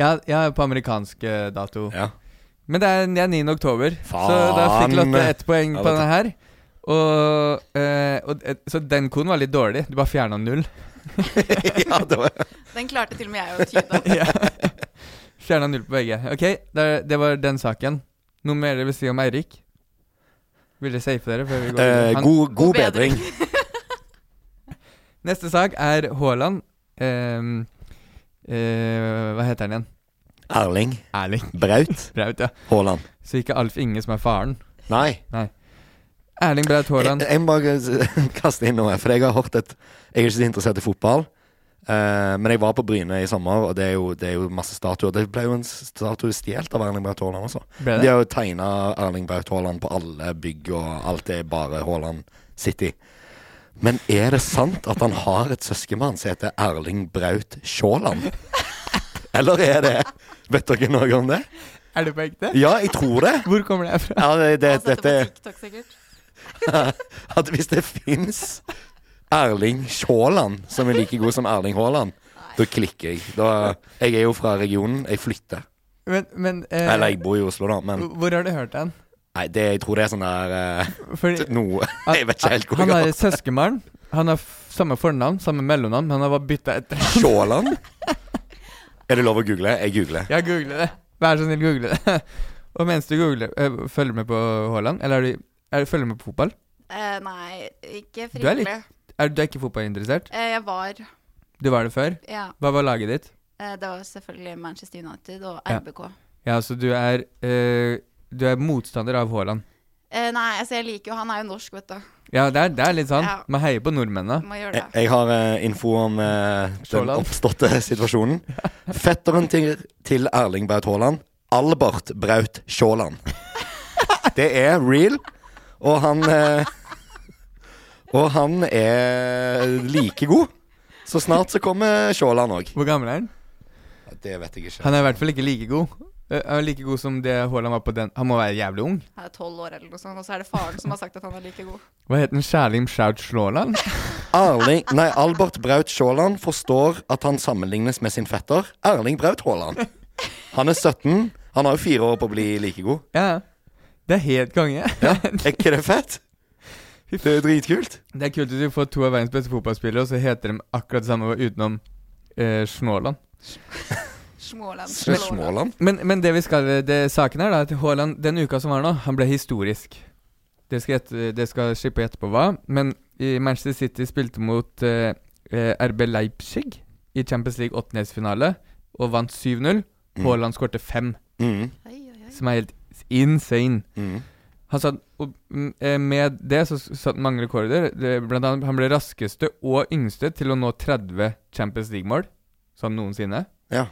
[SPEAKER 2] Ja, ja på amerikansk eh, dato.
[SPEAKER 3] Ja.
[SPEAKER 2] Men det er, det er 9. oktober, så
[SPEAKER 3] Faen.
[SPEAKER 2] da fikk Lotte ett poeng
[SPEAKER 3] Ja,
[SPEAKER 2] på
[SPEAKER 3] Lotte.
[SPEAKER 2] denne her. Og, eh, og, eh, så den koden var litt dårlig. Du bare fjerna null.
[SPEAKER 3] ja, det var
[SPEAKER 5] Den klarte til og med jeg å tyde.
[SPEAKER 2] Ja. fjerna null på begge. Ok, det, er- det var den saken. Noe mer dere vil si om Eirik? Vil dere safe dere? Før vi går videre?
[SPEAKER 3] Eh,
[SPEAKER 2] Han-
[SPEAKER 3] god, god
[SPEAKER 5] God
[SPEAKER 3] bedring.
[SPEAKER 5] bedring.
[SPEAKER 2] Neste sak er Haaland. Ehm, eh, hva heter han igjen?
[SPEAKER 3] Erling
[SPEAKER 2] Erling
[SPEAKER 3] Braut
[SPEAKER 2] Braut, ja.
[SPEAKER 3] Haaland.
[SPEAKER 2] Så ikke Alf Inge som er faren.
[SPEAKER 3] Nei.
[SPEAKER 2] Erling Braut
[SPEAKER 3] Jeg,
[SPEAKER 2] Haaland.
[SPEAKER 3] jeg må bare s- kaste inn noe, for jeg har hørt et Jeg er ikke så interessert i fotball, eh, men jeg var på Bryne i sommer, og det er jo, det er jo masse statuer. Det ble jo en statue stjålet av Erling Braut Haaland også.
[SPEAKER 2] Ble
[SPEAKER 3] De
[SPEAKER 2] det?
[SPEAKER 3] har jo tegna Erling Braut Haaland på alle bygg, og alt er bare Haaland City. Men er det sant at han har et søskenbarn som heter Erling Braut Sjåland? Eller er det Vet dere noe om det?
[SPEAKER 2] Er det på ekte?
[SPEAKER 3] Ja, jeg tror det.
[SPEAKER 2] Hvor kommer det her fra?
[SPEAKER 3] Ja, det, det,
[SPEAKER 5] Han satte
[SPEAKER 3] dette
[SPEAKER 5] på TikTok, Altså, sikkert.
[SPEAKER 3] at hvis det fins Erling Sjåland som er like god som Erling Haaland, da klikker jeg. Da, jeg er jo fra regionen. Jeg flytter.
[SPEAKER 2] Men, men eh,
[SPEAKER 3] Eller jeg bor i Oslo, da, men
[SPEAKER 2] hvor har du hørt den?
[SPEAKER 3] Nei, det, jeg tror det er sånn der eh,
[SPEAKER 2] Fordi
[SPEAKER 3] Noe Jeg vet ikke helt hvor
[SPEAKER 2] Han
[SPEAKER 3] det
[SPEAKER 2] har
[SPEAKER 3] går.
[SPEAKER 2] et søskenbarn. Han har f- samme fornavn, samme mellomnavn, men han har bare bytta etter.
[SPEAKER 3] Sjåland? Er det lov å google? Jeg googler.
[SPEAKER 2] Jeg googler det. Vær så snill, google det. Og mens du googler, eh, følger med på Haaland, eller er du, er du følger med på fotball?
[SPEAKER 5] Eh, nei, ikke
[SPEAKER 2] Du er litt-
[SPEAKER 5] frivillig.
[SPEAKER 2] Er du er ikke fotballinteressert?
[SPEAKER 5] Eh, jeg var
[SPEAKER 2] Du var det før.
[SPEAKER 5] Ja.
[SPEAKER 2] Hva var laget ditt?
[SPEAKER 5] Eh, det var selvfølgelig Manchester United og
[SPEAKER 2] Ja.
[SPEAKER 5] RBK.
[SPEAKER 2] Ja, så du er eh, Du er motstander av Haaland.
[SPEAKER 5] Eh, nei, altså jeg liker jo Han er jo norsk, vet du.
[SPEAKER 2] Ja, det er, det er litt sånn.
[SPEAKER 5] Ja.
[SPEAKER 2] Man heier på nordmennene.
[SPEAKER 5] Må gjøre
[SPEAKER 3] Jeg,
[SPEAKER 5] det.
[SPEAKER 3] jeg har eh, info om eh, den
[SPEAKER 2] Sjåland.
[SPEAKER 3] oppståtte situasjonen. Fetteren til, til Erling Braut Haaland, Albert Braut Sjåland. Det er real, og han eh, Og han er like god. Så snart så kommer Sjåland òg.
[SPEAKER 2] Hvor gammel er han?
[SPEAKER 3] Det vet jeg ikke.
[SPEAKER 2] Han er i hvert fall ikke like god. Eh, Han er like god som det Haaland var på den Han må være jævlig ung.
[SPEAKER 5] Han er tolv år eller noe sånt, og så er det faren som har sagt at han er like god.
[SPEAKER 2] Hva het han? Kjærlim Sjaut Slåland?
[SPEAKER 3] Erling, nei, Albert Braut Sjåland forstår at han sammenlignes med sin fetter Erling Braut Haaland. Han er 17. Han har jo fire år på å bli like god.
[SPEAKER 2] Ja. Det er helt konge.
[SPEAKER 3] Er ikke det fett? Det er jo dritkult.
[SPEAKER 2] Det er kult at du får to av verdens beste fotballspillere, og så heter de akkurat det samme utenom eh, Snåland.
[SPEAKER 5] Småland.
[SPEAKER 3] Småland.
[SPEAKER 2] Men, men det vi skal det, Saken er da at Haaland den uka som var nå, han ble historisk. Det skal, gjette- det skal slippe å gjette på hva, men i Manchester City spilte mot eh, eh, RB Leipzig i Champions League åttendelsfinale og vant 7-0. Haaland skårte fem,
[SPEAKER 3] Mm.
[SPEAKER 5] Oi, oi, oi.
[SPEAKER 2] som er helt insane.
[SPEAKER 3] Mm.
[SPEAKER 2] Han satt, og mm, eh, med det så s- satt mange rekorder. Det- Blant annet han ble raskeste og yngste til å nå 30 Champions League-mål, som noensinne.
[SPEAKER 3] Ja.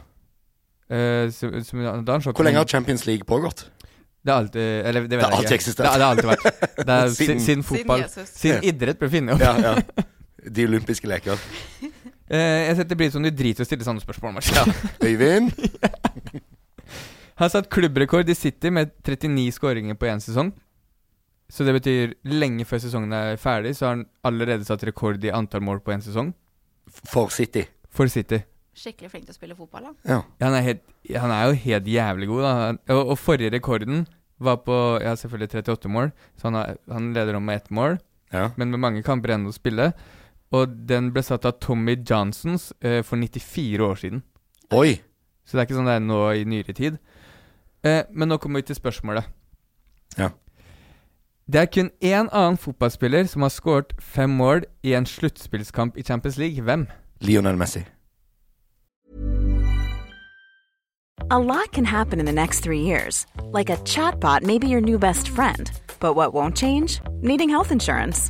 [SPEAKER 2] Eh, så, så, da har han slått
[SPEAKER 3] Hvor lenge har
[SPEAKER 2] noen-
[SPEAKER 3] Champions League pågått?
[SPEAKER 2] Det har alltid Eller det vet
[SPEAKER 3] Det har
[SPEAKER 2] jeg
[SPEAKER 3] alltid
[SPEAKER 2] ikke.
[SPEAKER 3] eksistert.
[SPEAKER 2] Det, har- det har alltid vært. Det er,
[SPEAKER 3] Siden-
[SPEAKER 2] siden, siden fotball
[SPEAKER 5] Siden Jesus.
[SPEAKER 2] Siden idrett ble funnet opp.
[SPEAKER 3] Ja, ja. De olympiske leker.
[SPEAKER 2] Eh, jeg setter pris på om du driter i å stille sånne spørsmål. Marcel.
[SPEAKER 3] Øyvind?
[SPEAKER 2] Har satt klubbrekord i City med 39 skåringer på én sesong. Så det betyr lenge før sesongen er ferdig, så har han allerede satt rekord i antall mål på én sesong
[SPEAKER 3] For City.
[SPEAKER 2] for City.
[SPEAKER 5] Skikkelig flink til å spille fotball, da.
[SPEAKER 3] Ja.
[SPEAKER 2] Ja, Han er, helt, han er jo helt jævlig god, da. Og, og forrige rekorden var på ja, selvfølgelig 38 mål, så han, har, han leder om med ett mål,
[SPEAKER 3] ja.
[SPEAKER 2] men med mange kamper igjen å spille. Og den ble satt av Tommy Johnsons eh, for 94 år siden.
[SPEAKER 3] Oi.
[SPEAKER 2] Så det er ikke sånn det er nå i nyere tid. Eh, men nå kommer vi til spørsmålet.
[SPEAKER 3] Ja.
[SPEAKER 2] Det er kun én annen fotballspiller som har skåret fem mål i en sluttspillskamp i Champions League. Hvem?
[SPEAKER 3] Lionel Messi.
[SPEAKER 6] A lot can happen in the next three years. Like a chatbot may be your new best friend. But what won't change? Needing health insurance.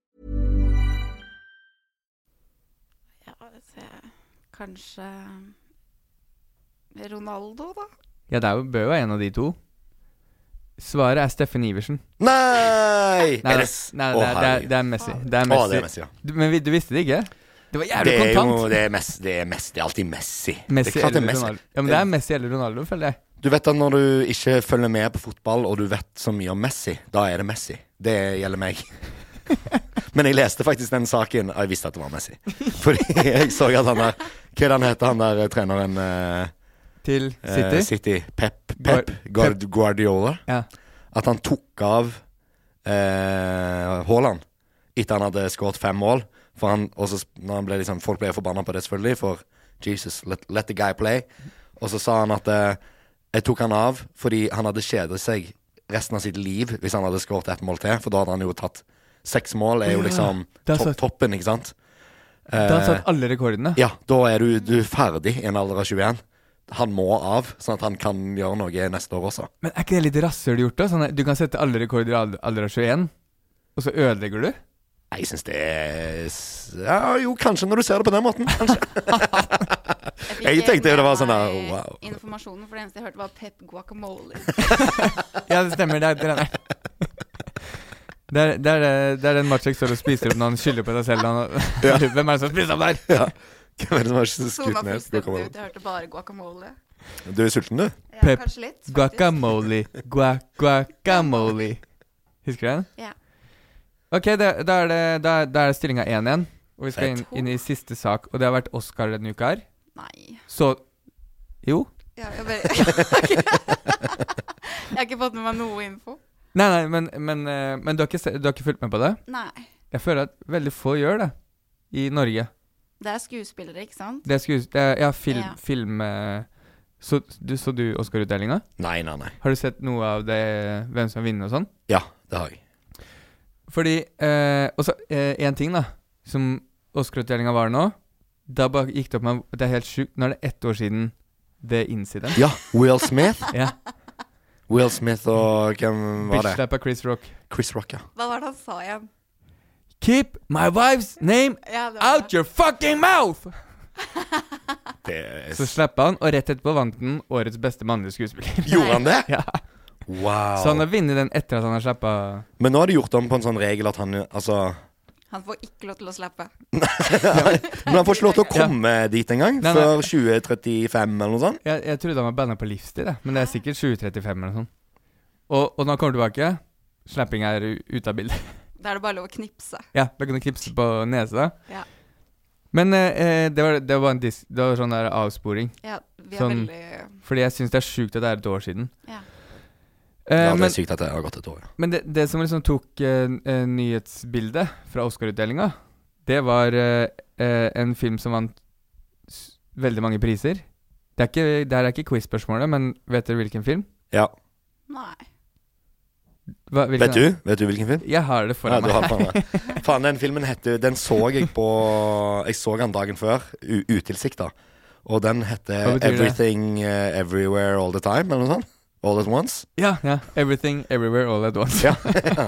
[SPEAKER 5] Ja, så jeg- kanskje eh, Ronaldo, da?
[SPEAKER 2] Ja, det er jo Bø er en av de to. Svaret er Steffen Iversen.
[SPEAKER 3] Nei!
[SPEAKER 2] Nei,
[SPEAKER 3] er
[SPEAKER 2] nei,
[SPEAKER 3] det s- Å,
[SPEAKER 2] det, er- det, er,
[SPEAKER 3] herregud.
[SPEAKER 2] det er Messi. Det er
[SPEAKER 3] Å,
[SPEAKER 2] Messi.
[SPEAKER 3] det er Messi, ja.
[SPEAKER 2] Du, men vi- du visste det ikke? Det var jævlig
[SPEAKER 3] Det er
[SPEAKER 2] kontant!
[SPEAKER 3] jo det er Messi. Det er, Messi. det er alltid Messi.
[SPEAKER 2] Messi
[SPEAKER 3] det er klart det
[SPEAKER 2] eller
[SPEAKER 3] er Messi.
[SPEAKER 2] Ronaldo. Ja, men det er Messi eller Ronaldo, føler jeg.
[SPEAKER 3] Du vet at når du ikke følger med på fotball, og du vet så mye om Messi, da er det Messi. Det gjelder meg. Men jeg leste faktisk den saken, og jeg visste at det var Messi. Fordi jeg så at han der Hva er det han heter, han der eh, treneren eh,
[SPEAKER 2] Til City.
[SPEAKER 3] eh, City. Pep,
[SPEAKER 2] Guar-
[SPEAKER 3] Pep Guard- Guardiola.
[SPEAKER 2] Ja.
[SPEAKER 3] At han tok av eh, Haaland etter han hadde skåret fem mål. For han, og så, sp- når han ble liksom, folk ble forbanna på det, selvfølgelig, for Jesus, let, let the guy play. Og så sa han at eh, jeg tok han av fordi han hadde kjedet seg resten av sitt liv hvis han hadde skåret ett mål til, for da hadde han jo tatt seks mål. er jo
[SPEAKER 2] Ja,
[SPEAKER 3] liksom
[SPEAKER 2] det er
[SPEAKER 3] topp-
[SPEAKER 2] sant.
[SPEAKER 3] toppen, ikke sant?
[SPEAKER 2] Da
[SPEAKER 3] Eh,
[SPEAKER 2] satt alle rekordene.
[SPEAKER 3] ja, da er du, du er ferdig i en alder av 21. Han må av, sånn at han kan gjøre noe neste år også.
[SPEAKER 2] Men er ikke det litt rasshøl gjort, da? Sånn at du kan sette alle rekorder i alder- alder av 21, og så ødelegger du?
[SPEAKER 3] Nei, Jeg syns det er s- ja, Jo, kanskje når du ser det på den måten. Kanskje.
[SPEAKER 5] fikk
[SPEAKER 3] Jeg
[SPEAKER 5] ikke
[SPEAKER 3] tenkte jo det
[SPEAKER 5] med
[SPEAKER 3] var sånn
[SPEAKER 5] meg
[SPEAKER 3] der, wow.
[SPEAKER 5] Informasjonen for det eneste jeg hørte, var Pep Guacamole.
[SPEAKER 2] Ja, det stemmer. Det er treneren. Det er, det, er, det- det er den Matsjek står og spiser opp når han skylder på seg selv. Han, Hvem er det som spiser opp der?
[SPEAKER 3] Ja. Hvem er det som har
[SPEAKER 5] Sona
[SPEAKER 3] skutt ned?
[SPEAKER 5] fullstendig ut.
[SPEAKER 3] guacamole?
[SPEAKER 5] Jeg hørte bare guacamole.
[SPEAKER 3] Du er sulten, du?
[SPEAKER 5] Ja,
[SPEAKER 2] Pep
[SPEAKER 5] kanskje litt, faktisk.
[SPEAKER 2] Guacamole, gua, guacamole. Husker du den?
[SPEAKER 5] Ja.
[SPEAKER 2] Ok, da, da er det, da, da er stillinga 1-1. Og vi skal inn,
[SPEAKER 3] Fett.
[SPEAKER 2] inn i siste sak, og det har vært Oscar denne uka her.
[SPEAKER 5] Nei.
[SPEAKER 2] Så Jo.
[SPEAKER 5] Ja, jeg, bare, jeg har ikke fått med meg noe info.
[SPEAKER 2] Nei, nei, men, men, eh, men du, har ikke, se- du har ikke fulgt med på det?
[SPEAKER 5] Nei.
[SPEAKER 2] Jeg føler at veldig få gjør det i Norge.
[SPEAKER 5] Det er skuespillere, ikke sant?
[SPEAKER 2] Det er skues... Det er, ja, film,
[SPEAKER 5] Ja.
[SPEAKER 2] film eh, Så du, så du Oscar-utdelinga?
[SPEAKER 3] Nei, nei, nei.
[SPEAKER 2] Har du sett noe av det, hvem som har vunnet og sånn?
[SPEAKER 3] Ja, det har jeg.
[SPEAKER 2] Fordi eh, Og så én ting, da, som Oscar-utdelinga var nå. Da bare gikk det opp meg at det er helt sjukt. Nå er det ett år siden The Incident.
[SPEAKER 3] Ja, Will Smith.
[SPEAKER 2] ja.
[SPEAKER 3] Will Smith og hvem var det?
[SPEAKER 2] Bitch-slappa Chris Rock.
[SPEAKER 3] Chris Rock, ja.
[SPEAKER 5] Hva var det han sa igjen?
[SPEAKER 2] Keep my wife's name
[SPEAKER 5] Ja, det var
[SPEAKER 2] out your fucking mouth!
[SPEAKER 3] Det er...
[SPEAKER 2] Så slappa han, og rett etterpå vant den årets beste mannlige skuespiller.
[SPEAKER 3] Gjorde han det?
[SPEAKER 2] ja. Sånn
[SPEAKER 3] Wow.
[SPEAKER 2] Så han har vunnet den etter at han har slappa
[SPEAKER 3] Men nå har de gjort om på en sånn regel at han Altså
[SPEAKER 5] Han får ikke lov til å slappe.
[SPEAKER 3] Men han får ikke lov til å komme dit engang
[SPEAKER 2] Nei, nei.
[SPEAKER 3] før 2035 eller noe sånt.
[SPEAKER 2] jeg, jeg trodde han var banna på livstid, jeg, men det er sikkert 7.35 eller noe sånt. Og, og når han kommer tilbake, slapping er u- ute av bildet.
[SPEAKER 5] Da er det bare lov å knipse.
[SPEAKER 2] ja, da kan du knipse på nesa.
[SPEAKER 5] Ja.
[SPEAKER 2] Men eh, eh, det, var, det, var en dis det var sånn der avsporing.
[SPEAKER 5] Ja, vi er
[SPEAKER 2] Sånn.
[SPEAKER 5] veldig
[SPEAKER 2] Fordi jeg syns det er sjukt at det er et år siden.
[SPEAKER 5] Ja.
[SPEAKER 2] Eh,
[SPEAKER 3] Ja, det
[SPEAKER 2] men
[SPEAKER 3] er sykt at det har gått et år. ja.
[SPEAKER 2] men det, det som liksom tok eh, n- eh, nyhetsbildet fra Oscar-utdelinga, det var eh, eh, en film som vant s veldig mange priser. Det er ikke, det her er ikke quiz-spørsmålet, men vet dere hvilken film?
[SPEAKER 3] Ja.
[SPEAKER 5] Nei.
[SPEAKER 2] Hva, hvilken
[SPEAKER 3] Vet du Vet du hvilken film?
[SPEAKER 2] Jeg har det
[SPEAKER 3] Ja,
[SPEAKER 2] foran
[SPEAKER 3] du har
[SPEAKER 2] meg.
[SPEAKER 3] faen meg. Faen, den filmen heter Den så jeg på Jeg så den dagen før. u- Utilsikta. Og den heter
[SPEAKER 2] Hva betyr det?
[SPEAKER 3] 'Everything eh, Everywhere All The Time', eller noe sånt. All At Once.
[SPEAKER 2] ja, ja. 'Everything Everywhere All At Once'.
[SPEAKER 3] Ja.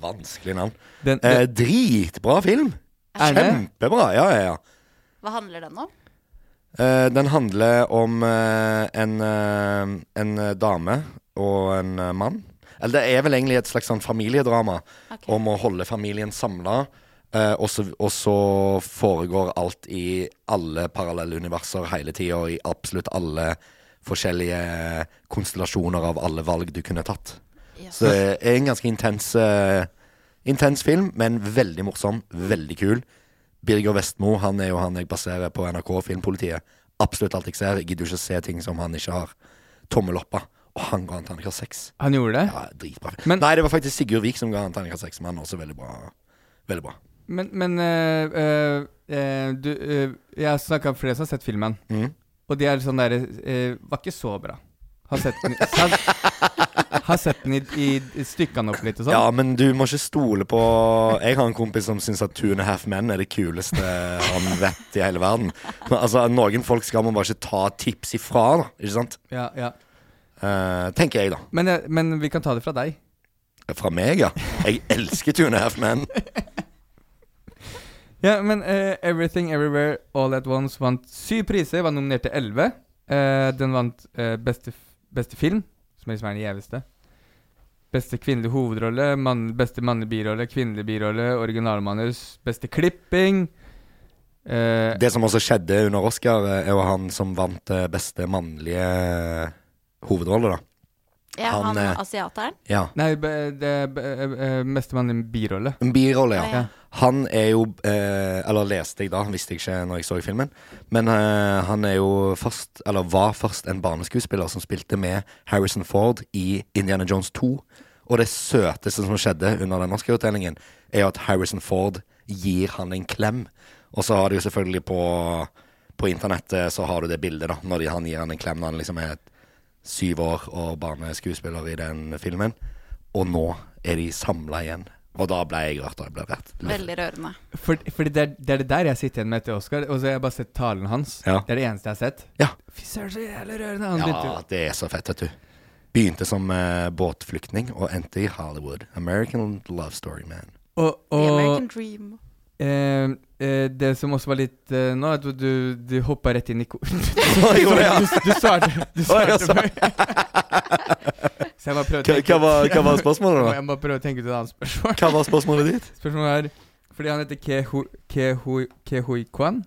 [SPEAKER 3] Vanskelig navn.
[SPEAKER 2] Den,
[SPEAKER 3] Eh,
[SPEAKER 2] den,
[SPEAKER 3] dritbra film.
[SPEAKER 2] er det?
[SPEAKER 3] Kjempebra. Ja, ja, ja.
[SPEAKER 5] Hva handler den om?
[SPEAKER 3] Eh, den handler om eh, en, eh, en eh, dame og en eh, mann. Eller det er vel egentlig et slags sånn familiedrama
[SPEAKER 5] Ok.
[SPEAKER 3] om å holde familien samla. eh, og, så, og så foregår alt i alle parallelle universer hele tida, og i absolutt alle forskjellige konstellasjoner av alle valg du kunne tatt.
[SPEAKER 5] Ja.
[SPEAKER 3] Så det er en ganske intens, eh, intens film, men veldig morsom, veldig kul. Birger Vestmo han er jo han jeg baserer på NRK Filmpolitiet. Absolutt alt jeg ser. Jeg gidder jo ikke se ting som han ikke har tommel opp av. Og han ga en terningkast seks.
[SPEAKER 2] han gjorde det?
[SPEAKER 3] Ja, dritbra.
[SPEAKER 2] Men-
[SPEAKER 3] Nei, det var faktisk Sigurd Vik som ga en terningkast seks, men han er også veldig bra. Veldig bra.
[SPEAKER 2] Men, men eh, eh, eh, du, eh, Jeg har snakka med flere som har sett filmen,
[SPEAKER 3] Mhm.
[SPEAKER 2] og de er sånn derre Var ikke så bra. Har sett den, har, har sett den i, i, i stykkene opp litt og sånn.
[SPEAKER 3] Ja, men du må ikke stole på Jeg har en kompis som syns at Two and a Half Men er det kuleste han vet i hele verden. Men, altså, noen folk skal man bare ikke ta tips ifra, da. Ikke sant?
[SPEAKER 2] Ja, ja.
[SPEAKER 3] Eh, tenker jeg, da.
[SPEAKER 2] Men, jeg- men vi kan ta det fra deg.
[SPEAKER 3] Fra meg, ja. Jeg elsker Two and a Half Men.
[SPEAKER 2] Ja, men eh, 'Everything Everywhere All At Once' vant syv priser, var nominert til elleve. Eh, den vant eh, beste, f- beste film, som liksom er den gjeveste. Beste kvinnelige hovedrolle, mann, beste mannlige birolle, kvinnelig birolle, originalmanus, beste klipping eh,
[SPEAKER 3] Det som også skjedde under Oscar, eh, er jo han som vant eh, beste mannlige eh, hovedrolle, da.
[SPEAKER 5] Ja,
[SPEAKER 3] Han,
[SPEAKER 5] han,
[SPEAKER 3] eh,
[SPEAKER 5] asiateren?
[SPEAKER 3] Ja.
[SPEAKER 2] Nei, be, det be, eh, eh, beste mannlige birolle.
[SPEAKER 3] En birolle, ja.
[SPEAKER 5] Ja, ja.
[SPEAKER 3] Han er jo eh, Eller leste jeg da, visste jeg ikke når jeg så filmen. Men eh, han er jo først, eller var først, en barneskuespiller som spilte med Harrison Ford i Indiana Jones 2. Og det søteste som skjedde under den norske utdelingen, er jo at Harrison Ford gir han en klem. Og så har du jo selvfølgelig på, på internettet så har du det bildet, da, når de, han gir han en klem når han liksom er syv år og barneskuespiller i den filmen. Og nå er de samla igjen. Og da ble jeg rørt. Og jeg ble rørt.
[SPEAKER 5] Veldig rørende.
[SPEAKER 2] For, fordi det er, det er det der jeg sitter igjen med etter Oscar. Og så har jeg bare sett talen hans.
[SPEAKER 3] Ja.
[SPEAKER 2] Det er det eneste jeg har sett.
[SPEAKER 3] Ja.
[SPEAKER 2] Fy søren, så jævlig rørende. Han sånn begynte jo-
[SPEAKER 3] ja, det er så fett, vet du. Begynte som eh, båtflyktning og endte i Hollywood. American love story, man.
[SPEAKER 2] Og,
[SPEAKER 5] The
[SPEAKER 2] og
[SPEAKER 5] American Dream.
[SPEAKER 2] eh, eh, det som også var litt eh, nå, er at du, du, du hoppa rett inn i ko... du,
[SPEAKER 3] jeg gjorde, ja.
[SPEAKER 2] du, du svarte, du
[SPEAKER 3] Å, jeg
[SPEAKER 2] svarte før. Så jeg bare prøvde å
[SPEAKER 3] Hva,
[SPEAKER 2] tenke-
[SPEAKER 3] hva, var, hva var spørsmålet,
[SPEAKER 2] Jeg
[SPEAKER 3] da?
[SPEAKER 2] må bare prøve å tenke ut et annet spørsmål.
[SPEAKER 3] Hva var spørsmålet ditt?
[SPEAKER 2] Spørsmålet er Fordi han heter Kehu- Kehu- Kehui Kwan.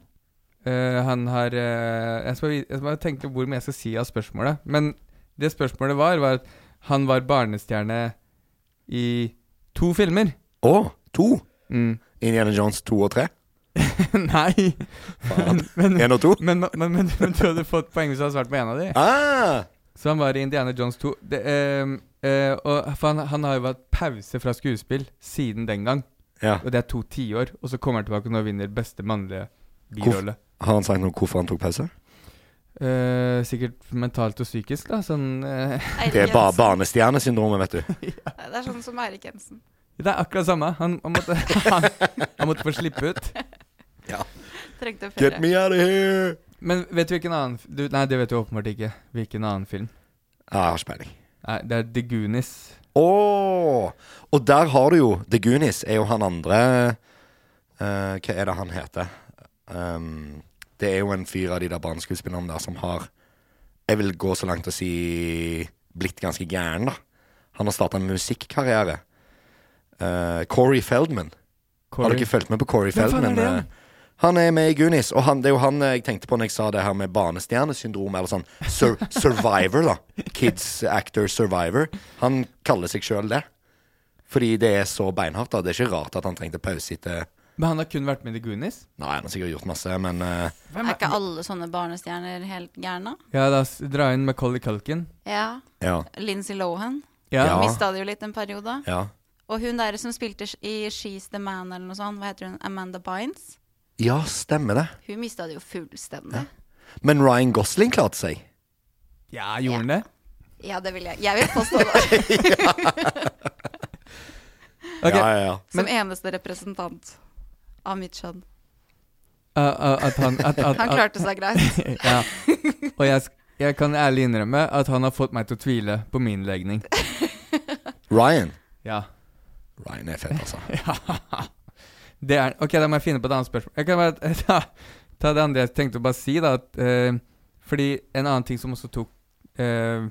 [SPEAKER 2] Eh, han har eh, Jeg skal vi- jeg skal tenke på hvor mye jeg skal si av spørsmålet. Men det spørsmålet var, var at han var barnestjerne i to filmer.
[SPEAKER 3] Å, to.
[SPEAKER 2] Mm.
[SPEAKER 3] Indiana Jones to og tre.
[SPEAKER 2] Nei!
[SPEAKER 3] Faen.
[SPEAKER 2] Men,
[SPEAKER 3] Én og to.
[SPEAKER 2] men, men, men, men, men du hadde fått poeng hvis du hadde svart på en av de.
[SPEAKER 3] Ah,
[SPEAKER 2] Så han var i Indiana Jones 2. Det, ehm, eh, og for han, han har jo hatt pause fra skuespill siden den gang.
[SPEAKER 3] ja.
[SPEAKER 2] Og det er to tiår. Og så kommer han tilbake og nå vinner beste mannlige birolle.
[SPEAKER 3] Har han sagt noe om hvorfor han tok pause?
[SPEAKER 2] Eh, sikkert mentalt og psykisk, da. Sånn eh.
[SPEAKER 5] Eirik
[SPEAKER 3] Det er ba
[SPEAKER 5] Jensen.
[SPEAKER 3] barnestjernesyndromet, vet du.
[SPEAKER 5] Det er sånn som Eirik Jensen.
[SPEAKER 2] Det er akkurat samme. Han, han, måtte, han, han måtte få slippe ut.
[SPEAKER 5] Trengte å
[SPEAKER 3] Get
[SPEAKER 5] føre.
[SPEAKER 3] me out of here!
[SPEAKER 2] Men vet du hvilken annen f- du, Nei, det vet du åpenbart ikke. Hvilken annen film?
[SPEAKER 3] Ja, Ah, jeg har ikke peiling.
[SPEAKER 2] Nei, det er The Goonies.
[SPEAKER 3] Åh, Og der har du jo The Goonies er jo han andre eh, Hva er det han heter? Um, det er jo en fyr av de der barneskuespillerne der som har Jeg vil gå så langt å si blitt ganske gæren, da. Han har starta en musikkarriere. Eh, Corey Feldman. Har
[SPEAKER 2] Corey-
[SPEAKER 3] dere fulgt med på Corey
[SPEAKER 2] Hvem faen er
[SPEAKER 3] Feldman?
[SPEAKER 2] det?
[SPEAKER 3] Eh, Han er med i Goonies, og han, det er jo han eh, jeg tenkte på når jeg sa det her med banestjernesyndrom, eller sånn sur survivor, da. Kids actor survivor. Han kaller seg sjøl det. Fordi det er så beinhardt, da. Det er ikke rart at han trengte pause etter
[SPEAKER 2] Men han har kun vært med i The Goonies?
[SPEAKER 3] Nei, han har sikkert gjort masse, men eh,
[SPEAKER 5] Er ikke alle sånne barnestjerner helt gærne?
[SPEAKER 2] Ja, da s- dra inn Macaulay Culkin.
[SPEAKER 5] Ja.
[SPEAKER 3] ja.
[SPEAKER 5] Lindsay Lohan.
[SPEAKER 2] Ja.
[SPEAKER 3] Ja.
[SPEAKER 5] Mista det jo litt en periode.
[SPEAKER 3] ja.
[SPEAKER 5] Og hun der som spilte i She's the Man eller noe sånt, hva heter hun? Amanda Bynes?
[SPEAKER 3] Ja, stemmer det.
[SPEAKER 5] Hun mista det jo fullstendig.
[SPEAKER 3] Men Ryan Gosling klarte seg.
[SPEAKER 2] Ja, gjorde han det?
[SPEAKER 5] Ja, det vil jeg. Jeg vil påstå det.
[SPEAKER 2] Ok.
[SPEAKER 3] Ja, ja, ja.
[SPEAKER 5] Som eneste representant av mitt kjønn.
[SPEAKER 2] Uh, uh, at han at, at,
[SPEAKER 5] Han
[SPEAKER 2] at,
[SPEAKER 5] klarte seg greit.
[SPEAKER 2] ja. Og jeg, sk- jeg kan ærlig innrømme at han har fått meg til å tvile på min legning.
[SPEAKER 3] Ryan.
[SPEAKER 2] Ja.
[SPEAKER 3] Ryan er fett, altså.
[SPEAKER 2] Det er Ok, da må jeg finne på et annet spørsmål. Jeg kan bare ta, ta det andre jeg tenkte å bare si, da. At, eh, fordi en annen ting som også tok eh,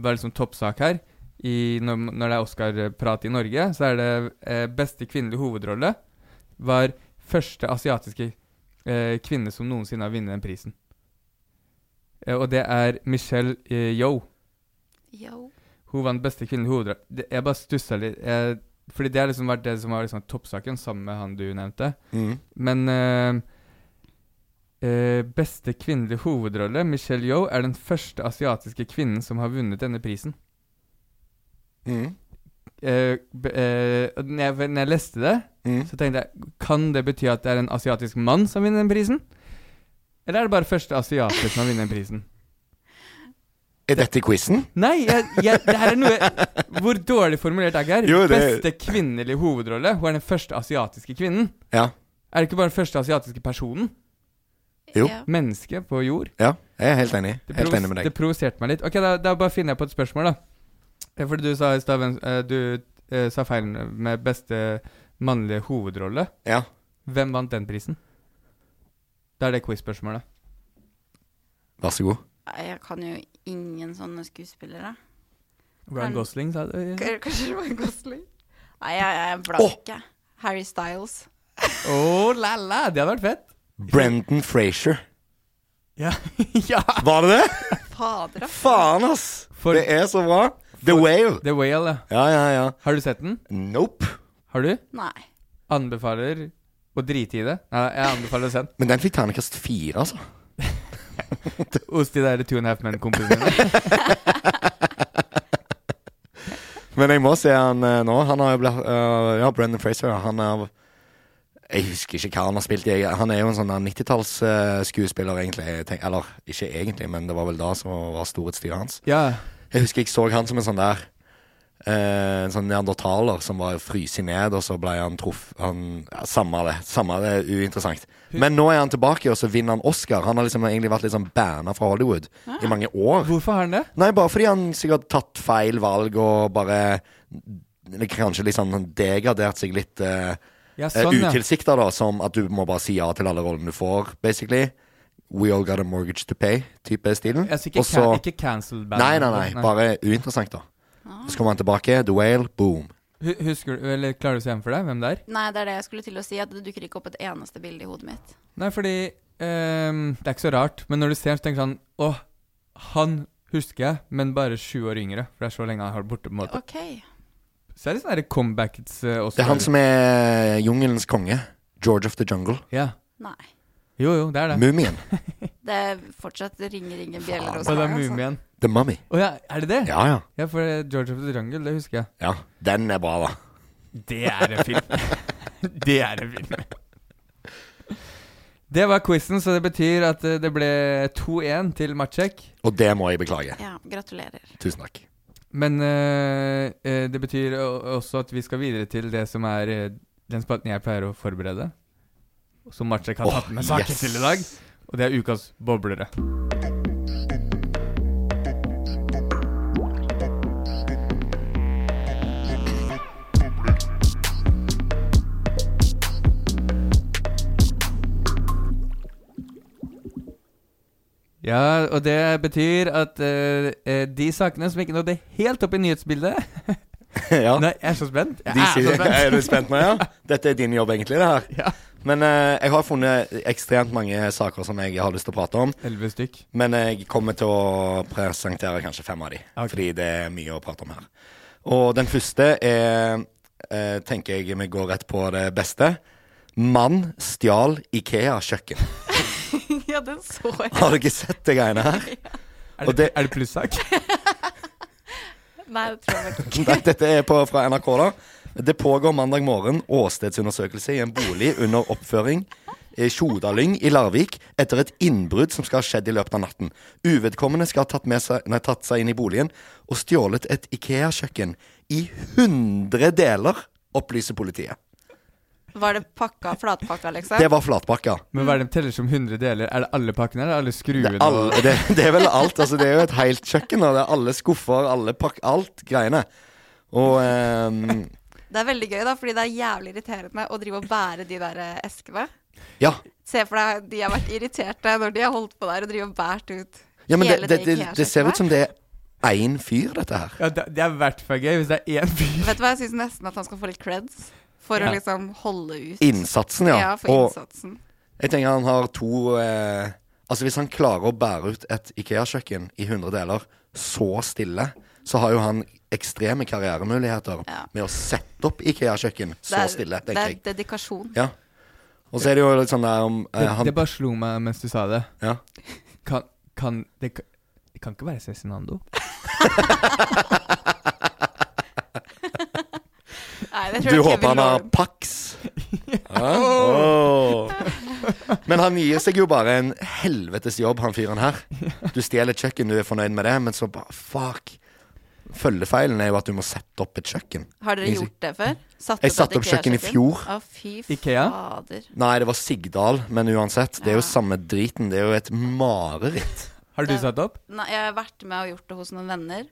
[SPEAKER 2] Var liksom toppsak her i, når, når det er Oscar-prat i Norge, så er det eh, beste kvinnelige hovedrolle var første asiatiske eh, kvinne som noensinne har vunnet den prisen. Eh, og det er Michelle eh, Yeoh.
[SPEAKER 5] Yo.
[SPEAKER 2] Hun vant beste kvinnelige hovedrolle. Det- Jeg bare stussa litt. Jeg, fordi det har liksom vært det som var liksom toppsaken, sammen med han du nevnte.
[SPEAKER 3] Mm.
[SPEAKER 2] Men eh, eh, beste kvinnelige hovedrolle, Michelle Yeoh, er den første asiatiske kvinnen som har vunnet denne prisen.
[SPEAKER 3] Mm.
[SPEAKER 2] Eh, be- eh, og når, jeg, når jeg leste det,
[SPEAKER 3] Mm.
[SPEAKER 2] så tenkte jeg Kan det bety at det er en asiatisk mann som vinner den prisen? Eller er det bare første asiater som har vunnet den prisen?
[SPEAKER 3] Er dette quizen?
[SPEAKER 2] Nei, jeg, jeg, det her er noe Hvor dårlig formulert er Geir?
[SPEAKER 3] Jo, det-
[SPEAKER 2] Beste kvinnelige hovedrolle. Hun er den første asiatiske kvinnen.
[SPEAKER 3] Ja.
[SPEAKER 2] Er det ikke bare den første asiatiske personen?
[SPEAKER 3] Jo.
[SPEAKER 5] Ja.
[SPEAKER 2] Menneske på jord.
[SPEAKER 3] Ja, jeg er helt enig.
[SPEAKER 2] Det,
[SPEAKER 3] Helt
[SPEAKER 2] provos-
[SPEAKER 3] enig med deg.
[SPEAKER 2] det provoserte meg litt. Ok, da, da bare finner jeg på et spørsmål, da. Eh, Fordi du sa i stad hvem- eh, Du eh, sa feil med beste mannlige hovedrolle.
[SPEAKER 3] Ja.
[SPEAKER 2] Hvem vant den prisen? Da er det quiz-spørsmålet.
[SPEAKER 3] Vær så god.
[SPEAKER 5] Nei, Jeg kan jo ingen sånne skuespillere.
[SPEAKER 2] Ryan
[SPEAKER 5] Han-
[SPEAKER 2] Gosling, sa du?
[SPEAKER 5] K- Kanskje Ryan Gosling? Nei, jeg, jeg er
[SPEAKER 3] Åh!
[SPEAKER 5] blank, jeg. Harry Styles.
[SPEAKER 2] Å, la la! Det hadde vært fett.
[SPEAKER 3] Brendan Frazier.
[SPEAKER 2] Ja. ja.
[SPEAKER 3] Var det det?
[SPEAKER 5] Fader, ass.
[SPEAKER 3] Faen, ass!
[SPEAKER 2] For-
[SPEAKER 3] det er så bra. The Whale.
[SPEAKER 2] The Whale, ja.
[SPEAKER 3] Ja, ja, ja.
[SPEAKER 2] Har du sett den?
[SPEAKER 3] Nope.
[SPEAKER 2] Har du?
[SPEAKER 5] Nei.
[SPEAKER 2] Anbefaler å drite i det. Nei, jeg anbefaler å se den.
[SPEAKER 3] Men den fikk terningkast fire, altså.
[SPEAKER 2] Hos de der Two and a Half Men-kompisene mine.
[SPEAKER 3] Men jeg må se han eh, nå. Han har jo blitt eh, Ja, Brendan Fraser. Han er Jeg husker ikke hva han har spilt i. Jeg- Han er jo en sånn 90-tallsskuespiller, egentlig. Jeg tenk- eller ikke egentlig, men det var vel da som var storhetstida hans.
[SPEAKER 2] Ja.
[SPEAKER 3] Jeg husker jeg så han som en sånn der eh, En sånn neandertaler som var fryst ned, og så ble han truff... Han, ja, samme det. Samme det, er uinteressant. Men nå er han tilbake, og så vinner han Oscar. Han har liksom egentlig vært litt sånn banna fra Hollywood
[SPEAKER 2] Ah.
[SPEAKER 3] i mange år.
[SPEAKER 2] Hvorfor har han det?
[SPEAKER 3] Nei, bare fordi han sikkert har tatt feil valg og bare eller Kanskje liksom degradert seg litt eh,
[SPEAKER 2] Ja, sånn, ja.
[SPEAKER 3] utilsikta, da. Som at du må bare si ja til alle rollene du får, basically. We all got a mortgage to pay-type stilen.
[SPEAKER 2] Altså, ikke,
[SPEAKER 3] Og så-
[SPEAKER 2] can, ikke cancel band.
[SPEAKER 3] Nei, nei, nei. Bare uinteressant, da. Så kommer han tilbake. The Whale, boom.
[SPEAKER 2] Hu- Husker du, eller klarer du å se den for deg? Hvem det er?
[SPEAKER 5] Nei, det er det jeg skulle til å si, at det dukker ikke opp et eneste bilde i hodet mitt.
[SPEAKER 2] Nei, fordi ehm, Det er ikke så rart, men når du ser den, så tenker du sånn Å, han husker jeg, men bare sju år yngre. For det er så lenge han har vært borte. på en måte
[SPEAKER 5] OK.
[SPEAKER 2] Så er det sånne der comebacks eh, også.
[SPEAKER 3] Det er han som er jungelens konge. George of the Jungle.
[SPEAKER 2] Ja.
[SPEAKER 5] Nei.
[SPEAKER 2] Jo, jo, det er det.
[SPEAKER 3] Mumien.
[SPEAKER 5] Det fortsatt ringer ingen bjeller hos
[SPEAKER 2] Og det er
[SPEAKER 5] meg. Altså.
[SPEAKER 2] Mumien.
[SPEAKER 3] The Mummy.
[SPEAKER 2] Å ja, er det det?
[SPEAKER 3] Ja, ja.
[SPEAKER 2] Ja, for eh, George of the Jungle, det husker jeg.
[SPEAKER 3] ja. Den er bra, da.
[SPEAKER 2] Det er en film. det er en film. Det var quizen, så det betyr at eh, det ble 2-1 til Matsjek.
[SPEAKER 3] Og det må jeg beklage.
[SPEAKER 5] Ja, gratulerer.
[SPEAKER 3] Tusen takk.
[SPEAKER 2] Men eh, eh, det betyr o- også at vi skal videre til det som er eh, den spalten jeg pleier å forberede. Som Matsjek har
[SPEAKER 3] Åh,
[SPEAKER 2] tatt med saker
[SPEAKER 3] yes.
[SPEAKER 2] til i dag. Og det er ukas boblere. Ja, og det betyr at eh, eh, de sakene som ikke nådde helt opp i nyhetsbildet Nei, jeg er så spent. Jeg
[SPEAKER 3] De
[SPEAKER 2] er så
[SPEAKER 3] sier,
[SPEAKER 2] spent.
[SPEAKER 3] er du spent nå, ja? Dette er din jobb, egentlig, det her. Men eh, jeg har funnet ekstremt mange saker som jeg har lyst til å prate om.
[SPEAKER 2] Elleve stykk.
[SPEAKER 3] Men jeg kommer til å presentere kanskje fem av de, fordi det er mye å prate om her. Og den første er eh, Tenker jeg vi går rett på det beste. Mann stjal Ikea-kjøkken.
[SPEAKER 5] ja, den så jeg.
[SPEAKER 3] Har du ikke sett det greiene her? Og det,
[SPEAKER 2] er det plussak?
[SPEAKER 5] Nei, det tror jeg faktisk ikke.
[SPEAKER 3] Nei, Dette er på, fra NRK, da. Det pågår mandag morgen åstedsundersøkelse i en bolig under oppføring i Tjodalyng i Larvik etter et innbrudd som skal ha skjedd i løpet av natten. Uvedkommende skal ha tatt, med seg, nei, tatt seg inn i boligen og stjålet et Ikea-kjøkken i 100 deler, opplyser politiet.
[SPEAKER 5] Var det pakka, flatpakka, liksom?
[SPEAKER 3] Det var flatpakka.
[SPEAKER 2] Men hva er det de teller som 100 deler? Er det alle pakkene, eller alle skruene?
[SPEAKER 3] Alle, det, det er vel alt. Altså, det er jo et helt kjøkken. da. Det er alle skuffer, alle pakk, alt greiene. Og ehm,
[SPEAKER 5] Det er veldig gøy, da, fordi det er jævlig irriterende å drive og bære de der eh, eskene.
[SPEAKER 3] ja.
[SPEAKER 5] Se for deg de har vært irriterte når de har holdt på der og driver og bært ut
[SPEAKER 3] Ja, men det,
[SPEAKER 5] hele
[SPEAKER 3] det, det, det ser ut
[SPEAKER 5] IKEA-kjøkkenet.
[SPEAKER 3] som det er én fyr, dette her.
[SPEAKER 2] Ja, det, det er i hvert fall gøy hvis det er én fyr.
[SPEAKER 5] Vet du hva, jeg syns nesten at han skal få litt creds for
[SPEAKER 3] Ja.
[SPEAKER 5] å liksom holde ut.
[SPEAKER 3] Innsatsen, ja.
[SPEAKER 5] Ja, for
[SPEAKER 3] Og-
[SPEAKER 5] innsatsen.
[SPEAKER 3] Jeg tenker han har to eh, Altså, hvis han klarer å bære ut et Ikea-kjøkken i 100 deler så stille, så har jo han ekstreme karrieremuligheter med å sette opp Ikea-kjøkken så
[SPEAKER 5] Det er-
[SPEAKER 3] stille,
[SPEAKER 5] Det er
[SPEAKER 3] tenker jeg.
[SPEAKER 5] dedikasjon.
[SPEAKER 3] Ja. Og så er det jo litt sånn der om eh,
[SPEAKER 2] Det,
[SPEAKER 3] han,
[SPEAKER 2] det bare slo meg mens du sa det.
[SPEAKER 3] Ja.
[SPEAKER 2] Kan, kan det, kan- det kan ikke være Cezinando?
[SPEAKER 5] Nei,
[SPEAKER 3] Du
[SPEAKER 5] det tror jeg ikke jeg
[SPEAKER 3] håper
[SPEAKER 5] vil
[SPEAKER 3] han har
[SPEAKER 5] love.
[SPEAKER 3] Pax? Ja. Åh. Men han gir seg jo bare en helvetes jobb, han fyren her. Du stjeler et kjøkken, du er fornøyd med det, men så bare fuck. Følgefeilen er jo at du må sette opp et kjøkken.
[SPEAKER 5] Har dere gjort det før? Satt
[SPEAKER 3] Jeg
[SPEAKER 5] et
[SPEAKER 3] satte opp kjøkken i
[SPEAKER 5] IKEA-kjøkken?
[SPEAKER 3] fjor.
[SPEAKER 5] Å, fy
[SPEAKER 3] Ikea?
[SPEAKER 5] fader.
[SPEAKER 3] Nei, det var Sigdal, men uansett. Det er jo samme driten. Det er jo et mareritt.
[SPEAKER 2] Har du satt opp?
[SPEAKER 5] Nei, jeg har vært med og gjort det hos noen venner.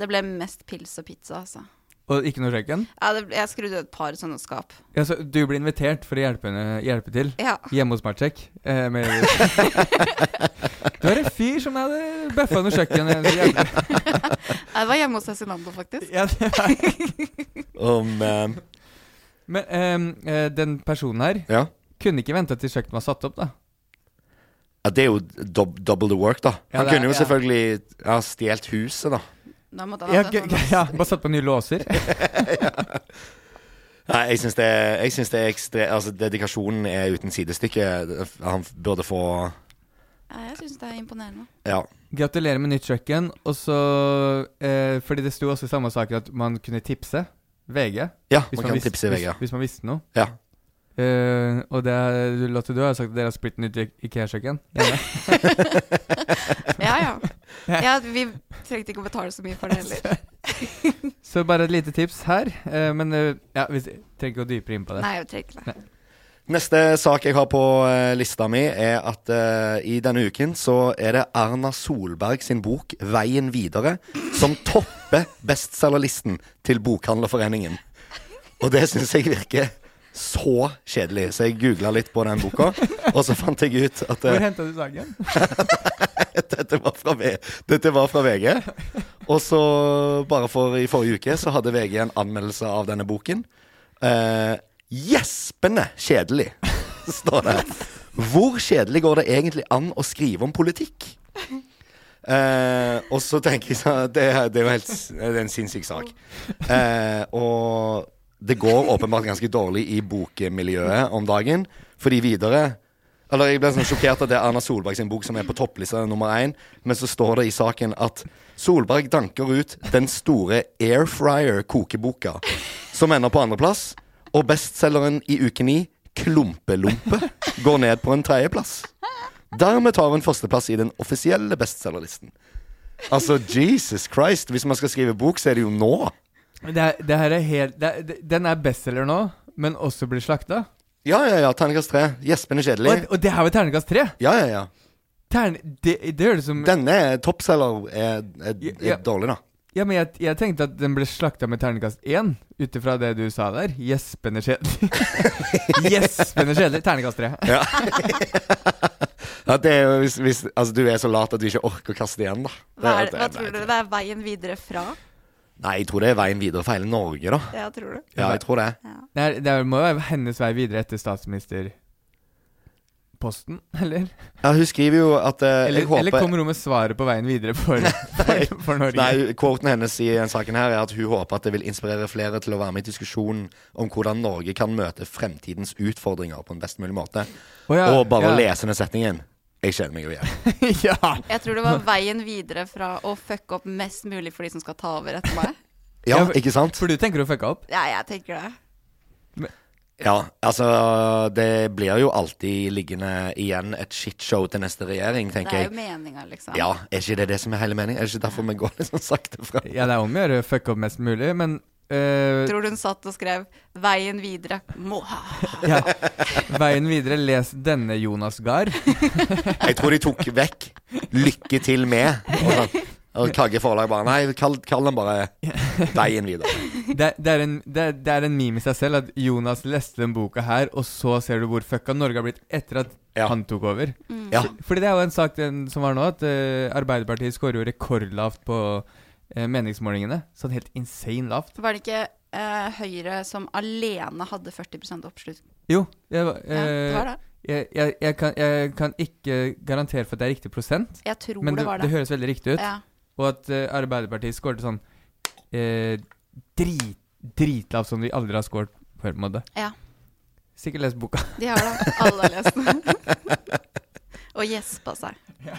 [SPEAKER 5] Det ble mest pils og pizza, altså.
[SPEAKER 2] Og ikke noe kjøkken?
[SPEAKER 5] Ja, det, jeg skrudde et par sånne skap.
[SPEAKER 2] Ja, så du blir invitert for å hjelpe, henne- hjelpe til
[SPEAKER 5] Ja.
[SPEAKER 2] hjemme hos Marcek. Eh, med- du er en fyr som hadde bøffa noe kjøkken. eh, så jævlig.
[SPEAKER 5] Jeg var hjemme hos Cezinando, faktisk.
[SPEAKER 2] Ja, det er.
[SPEAKER 3] Oh, man.
[SPEAKER 2] Men ehm, eh, den personen her
[SPEAKER 3] Ja.
[SPEAKER 2] kunne ikke venta til kjøkkenet var satt opp, da.
[SPEAKER 3] ja, det er jo dob double the work, da.
[SPEAKER 2] Ja,
[SPEAKER 3] Han
[SPEAKER 2] det er-
[SPEAKER 3] kunne jo
[SPEAKER 2] ja.
[SPEAKER 3] selvfølgelig ha stjålet huset, da.
[SPEAKER 5] Da måtte
[SPEAKER 2] Ja,
[SPEAKER 5] han ha
[SPEAKER 2] g-
[SPEAKER 5] tatt
[SPEAKER 2] g- ja, bare satt på nye låser.
[SPEAKER 3] Nei, jeg syns det, jeg syns det er ekstre... Altså, dedikasjonen er uten sidestykke. Han burde få
[SPEAKER 5] Nei, Jeg syns det er imponerende.
[SPEAKER 3] Ja.
[SPEAKER 2] Gratulerer med nytt kjøkken. Og så eh, Fordi det sto også i samme saken at man kunne tipse VG.
[SPEAKER 3] Ja,
[SPEAKER 2] hvis
[SPEAKER 3] man kan
[SPEAKER 2] vis-
[SPEAKER 3] tipse i VG,
[SPEAKER 2] Hvis,
[SPEAKER 3] ja.
[SPEAKER 2] hvis man visste noe.
[SPEAKER 3] Ja.
[SPEAKER 2] Eh, og det er, du, Lotte, du har jo sagt at dere har splitt nytt I- IKEA-kjøkken.
[SPEAKER 5] Ja, ja. ja vi trengte ikke å betale så mye for det heller.
[SPEAKER 2] så bare et lite tips her. eh, men eh, ja, vi trenger ikke å dypere inn på det.
[SPEAKER 5] Nei, vi trenger ikke det.
[SPEAKER 3] Neste sak jeg har på eh, lista mi, er at eh, i denne uken så er det Erna Solberg sin bok 'Veien videre' som topper bestselgerlisten til Bokhandlerforeningen. Og det syns jeg virker så kjedelig, så jeg googla litt på den boka, og så fant jeg ut at eh,
[SPEAKER 2] Hvor henta du saken?
[SPEAKER 3] dette, var fra v dette var fra VG. Og så, bare for i forrige uke, så hadde VG en anmeldelse av denne boken. Eh, Gjespende kjedelig, står det. Hvor kjedelig går det egentlig an å skrive om politikk? Eh, og så tenker jeg sånn Det, er- det er jo helt s- det er en sinnssyk sak. Eh, og det går åpenbart ganske dårlig i bokmiljøet om dagen. Fordi videre Eller jeg ble sånn sjokkert at det er Erna Solberg sin bok som er på topplista nummer én. Men så står det i saken at Solberg danker ut den store air fryer-kokeboka, som ender på andreplass. Og bestselgeren i uke ni, Klumpelompe går ned på en tredjeplass. Dermed tar hun førsteplass i den offisielle bestselgerlisten. Altså, Jesus Christ. Hvis man skal skrive bok, så er det jo nå.
[SPEAKER 2] Det, er- det her er helt det, er- det, Den er bestselger nå, men også blir slakta.
[SPEAKER 3] Ja, ja, ja. Terningkast tre. Gjespen er kjedelig.
[SPEAKER 2] Og, og det her var terningkast tre!
[SPEAKER 3] Ja, ja, ja.
[SPEAKER 2] Tern, det, det høres som
[SPEAKER 3] Denne er toppselger er, er, er
[SPEAKER 2] Ja.
[SPEAKER 3] dårlig, da.
[SPEAKER 2] Ja, men jeg, jeg tenkte at den ble slakta med terningkast én, ut ifra det du sa der. Gjespende kjedelig. Gjespende kjedelig. Terningkast tre.
[SPEAKER 3] Ja. ja, det er jo hvis, hvis altså, du er så lat at du ikke orker å kaste igjen, da. Det
[SPEAKER 5] Hva,
[SPEAKER 3] er-
[SPEAKER 5] er,
[SPEAKER 3] det er-
[SPEAKER 5] hva tror dere det er veien videre fra?
[SPEAKER 3] Nei, jeg tror det er veien videre for hele Norge, da.
[SPEAKER 5] Ja, tror du?
[SPEAKER 3] Ja, jeg tror det.
[SPEAKER 2] Det, er, det er- må jo være hennes vei videre etter statsministerposten, eller?
[SPEAKER 3] Ja, hun skriver jo at eh,
[SPEAKER 2] Eller,
[SPEAKER 3] jeg håper
[SPEAKER 2] eller kommer hun med svaret på veien videre for, for, for Norge?
[SPEAKER 3] Nei, quoten hennes i den saken her er at hun håper at det vil inspirere flere til å være med i diskusjonen om hvordan Norge kan møte fremtidens utfordringer på en best mulig måte.
[SPEAKER 2] Å ja,
[SPEAKER 3] Og bare
[SPEAKER 2] ja.
[SPEAKER 3] lese den setningen. Jeg kjenner meg jo igjen.
[SPEAKER 2] ja.
[SPEAKER 5] Jeg tror det var veien videre fra å fucke opp mest mulig for de som skal ta over etter meg.
[SPEAKER 3] Ja, ikke sant?
[SPEAKER 2] For du tenker å fucke opp?
[SPEAKER 5] Ja, jeg tenker det.
[SPEAKER 3] Ja, altså Det blir jo alltid liggende igjen et shitshow til neste regjering,
[SPEAKER 5] Det er
[SPEAKER 3] tenker
[SPEAKER 5] jo
[SPEAKER 3] jeg.
[SPEAKER 5] meninga, liksom.
[SPEAKER 3] Ja, er ikke det det som er hele meningen? Er det ikke derfor vi går litt sånn sakte fram?
[SPEAKER 2] Ja, det er om å gjøre å fucke opp mest mulig, men eh,
[SPEAKER 5] Tror du hun satt og skrev 'Veien videre'? Moha.
[SPEAKER 2] ja. Veien videre, les denne Jonas Gahr.
[SPEAKER 3] Jeg tror de tok vekk 'lykke til med'. Og, sånn. og Kagge forlag bare Nei, kall, kall den bare 'Veien videre'.
[SPEAKER 2] Det, det, er en, det, er- det er en meme i seg selv at Jonas leste den boka her, og så ser du hvor fucka Norge har blitt etter at
[SPEAKER 3] Ja.
[SPEAKER 2] han tok over.
[SPEAKER 3] Mm. Ja.
[SPEAKER 2] Fordi det er jo en sak den, som var nå, at eh, Arbeiderpartiet skårer jo rekordlavt på eh, meningsmålingene. Sånn helt insane lavt.
[SPEAKER 5] Var det ikke eh, Høyre som alene hadde 40 oppslutning?
[SPEAKER 2] Jo, jeg, var-
[SPEAKER 5] Ja, det var
[SPEAKER 2] eh,
[SPEAKER 5] det.
[SPEAKER 2] Jeg, jeg, jeg, kan, jeg kan ikke garantere for at det er riktig prosent.
[SPEAKER 5] Jeg tror
[SPEAKER 2] men
[SPEAKER 5] det var det.
[SPEAKER 2] det høres veldig riktig ut.
[SPEAKER 5] Ja.
[SPEAKER 2] Og at eh, Arbeiderpartiet skåret sånn eh, drit, dritlavt som de aldri har skåret før. på en måte.
[SPEAKER 5] Ja.
[SPEAKER 2] Sikkert lest boka.
[SPEAKER 5] De har det. Alle har lest den. og gjespa seg.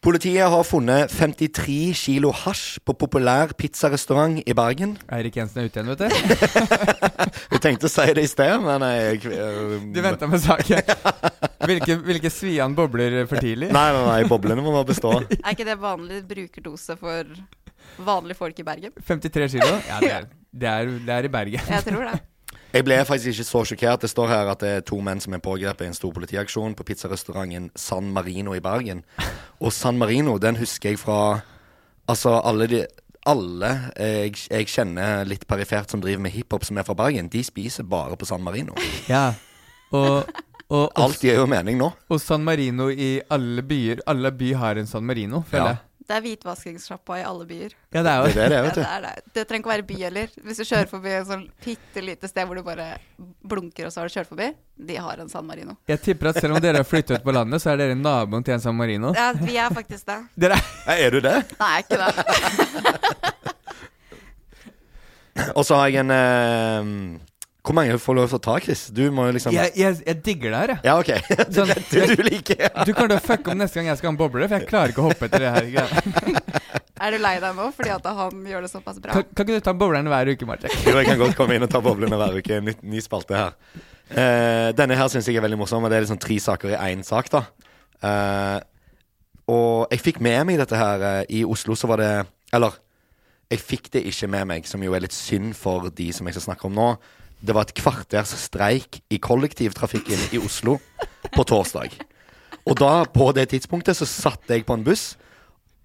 [SPEAKER 3] Politiet har funnet 53 kilo hasj på populær pizzarestaurant i Bergen.
[SPEAKER 2] Eirik Jensen er ute igjen, vet du.
[SPEAKER 3] Jeg tenkte å si det i sted, men jeg eh,
[SPEAKER 2] Du venta med saken. Hvilke, hvilke svian bobler for tidlig?
[SPEAKER 3] Nei, nei, nei, boblene må bare bestå.
[SPEAKER 5] Er ikke det vanlig brukerdose for vanlige folk i Bergen?
[SPEAKER 2] 53 kilo? Ja, det er, det er, det er i Bergen.
[SPEAKER 5] Jeg tror det.
[SPEAKER 3] Jeg ble faktisk ikke så sjokkert. Det står her at det er to menn som er pågrepet i en stor politiaksjon på pizzarestauranten San Marino i Bergen. Og San Marino, den husker jeg fra Altså, alle de alle eh, jeg, jeg kjenner litt perifert som driver med hiphop, som er fra Bergen, de spiser bare på San Marino.
[SPEAKER 2] Ja. Og, og, og,
[SPEAKER 3] Alt gir jo mening nå.
[SPEAKER 2] og San Marino i alle byer. Alle by har en San Marino, føler
[SPEAKER 3] Ja.
[SPEAKER 2] jeg.
[SPEAKER 5] Det er hvitvaskingssjappa i alle byer.
[SPEAKER 2] Ja, det er
[SPEAKER 3] Det
[SPEAKER 2] jo
[SPEAKER 3] er det det er,
[SPEAKER 5] Ja,
[SPEAKER 3] vet
[SPEAKER 5] det,
[SPEAKER 3] du.
[SPEAKER 5] er det. det trenger ikke å være by heller. Hvis du kjører forbi et sånn bitte lite sted hvor du bare blunker, og så har du kjørt forbi, de har en San Marino.
[SPEAKER 2] Jeg tipper at selv om dere har flyttet ut på landet, så er dere naboen til en San Marino.
[SPEAKER 5] Ja, vi er faktisk det.
[SPEAKER 2] Dere
[SPEAKER 3] Ja, Er du det?
[SPEAKER 5] Nei, ikke det.
[SPEAKER 3] Og så har jeg en eh, Hvor mange får lov til å ta, Chris? Du må jo liksom
[SPEAKER 2] jeg, jeg, jeg digger det her, jeg.
[SPEAKER 3] Ja, OK. Du,
[SPEAKER 2] Sånn-
[SPEAKER 3] du, du liker ja.
[SPEAKER 2] Du kommer til å fucke om neste gang jeg skal ha en boble, for jeg klarer ikke å hoppe etter det her. greia.
[SPEAKER 5] Er du lei deg nå fordi at han gjør det såpass bra?
[SPEAKER 2] Kan, kan ikke du ta bobleren hver uke, Martin?
[SPEAKER 3] Jo, jeg kan godt komme inn og ta boblene hver uke. Ny, ny spalte her. Eh, denne her syns jeg er veldig morsom, og det er liksom tre saker i én sak, da. Eh, og jeg fikk med meg dette her eh, i Oslo, så var det Eller, jeg fikk det ikke med meg, som jo er litt synd for de som jeg skal snakke om nå. Det var et kvarters streik i kollektivtrafikken i Oslo på torsdag. Og da, på det tidspunktet, så satt jeg på en buss,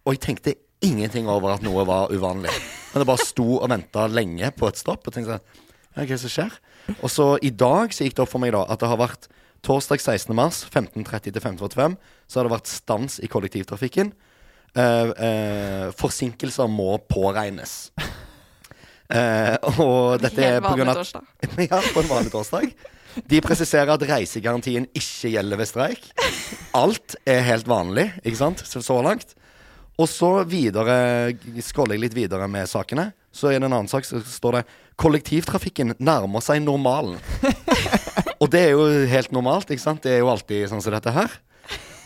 [SPEAKER 3] og jeg tenkte ingenting over at noe var uvanlig. Men det bare sto og venta lenge på et stopp, og tenkte sånn ja, Hva er det som skjer? Og så i dag så gikk det opp for meg da at det har vært torsdag 16. mars 15.30 til 15.45, så har det vært stans i kollektivtrafikken. Eh, eh, forsinkelser må påregnes. Eh, og dette er
[SPEAKER 5] Helt
[SPEAKER 3] på grunn av
[SPEAKER 5] vanlig
[SPEAKER 3] at-
[SPEAKER 5] torsdag.
[SPEAKER 3] ja, på en vanlig torsdag. De presiserer at reisegarantien ikke gjelder ved streik. Alt er helt vanlig, ikke sant, så, så langt. Og så videre, scroller jeg litt videre med sakene. Så er det en annen sak så står det 'Kollektivtrafikken nærmer seg normalen'. Og det er jo helt normalt, ikke sant? Det er jo alltid sånn som dette her.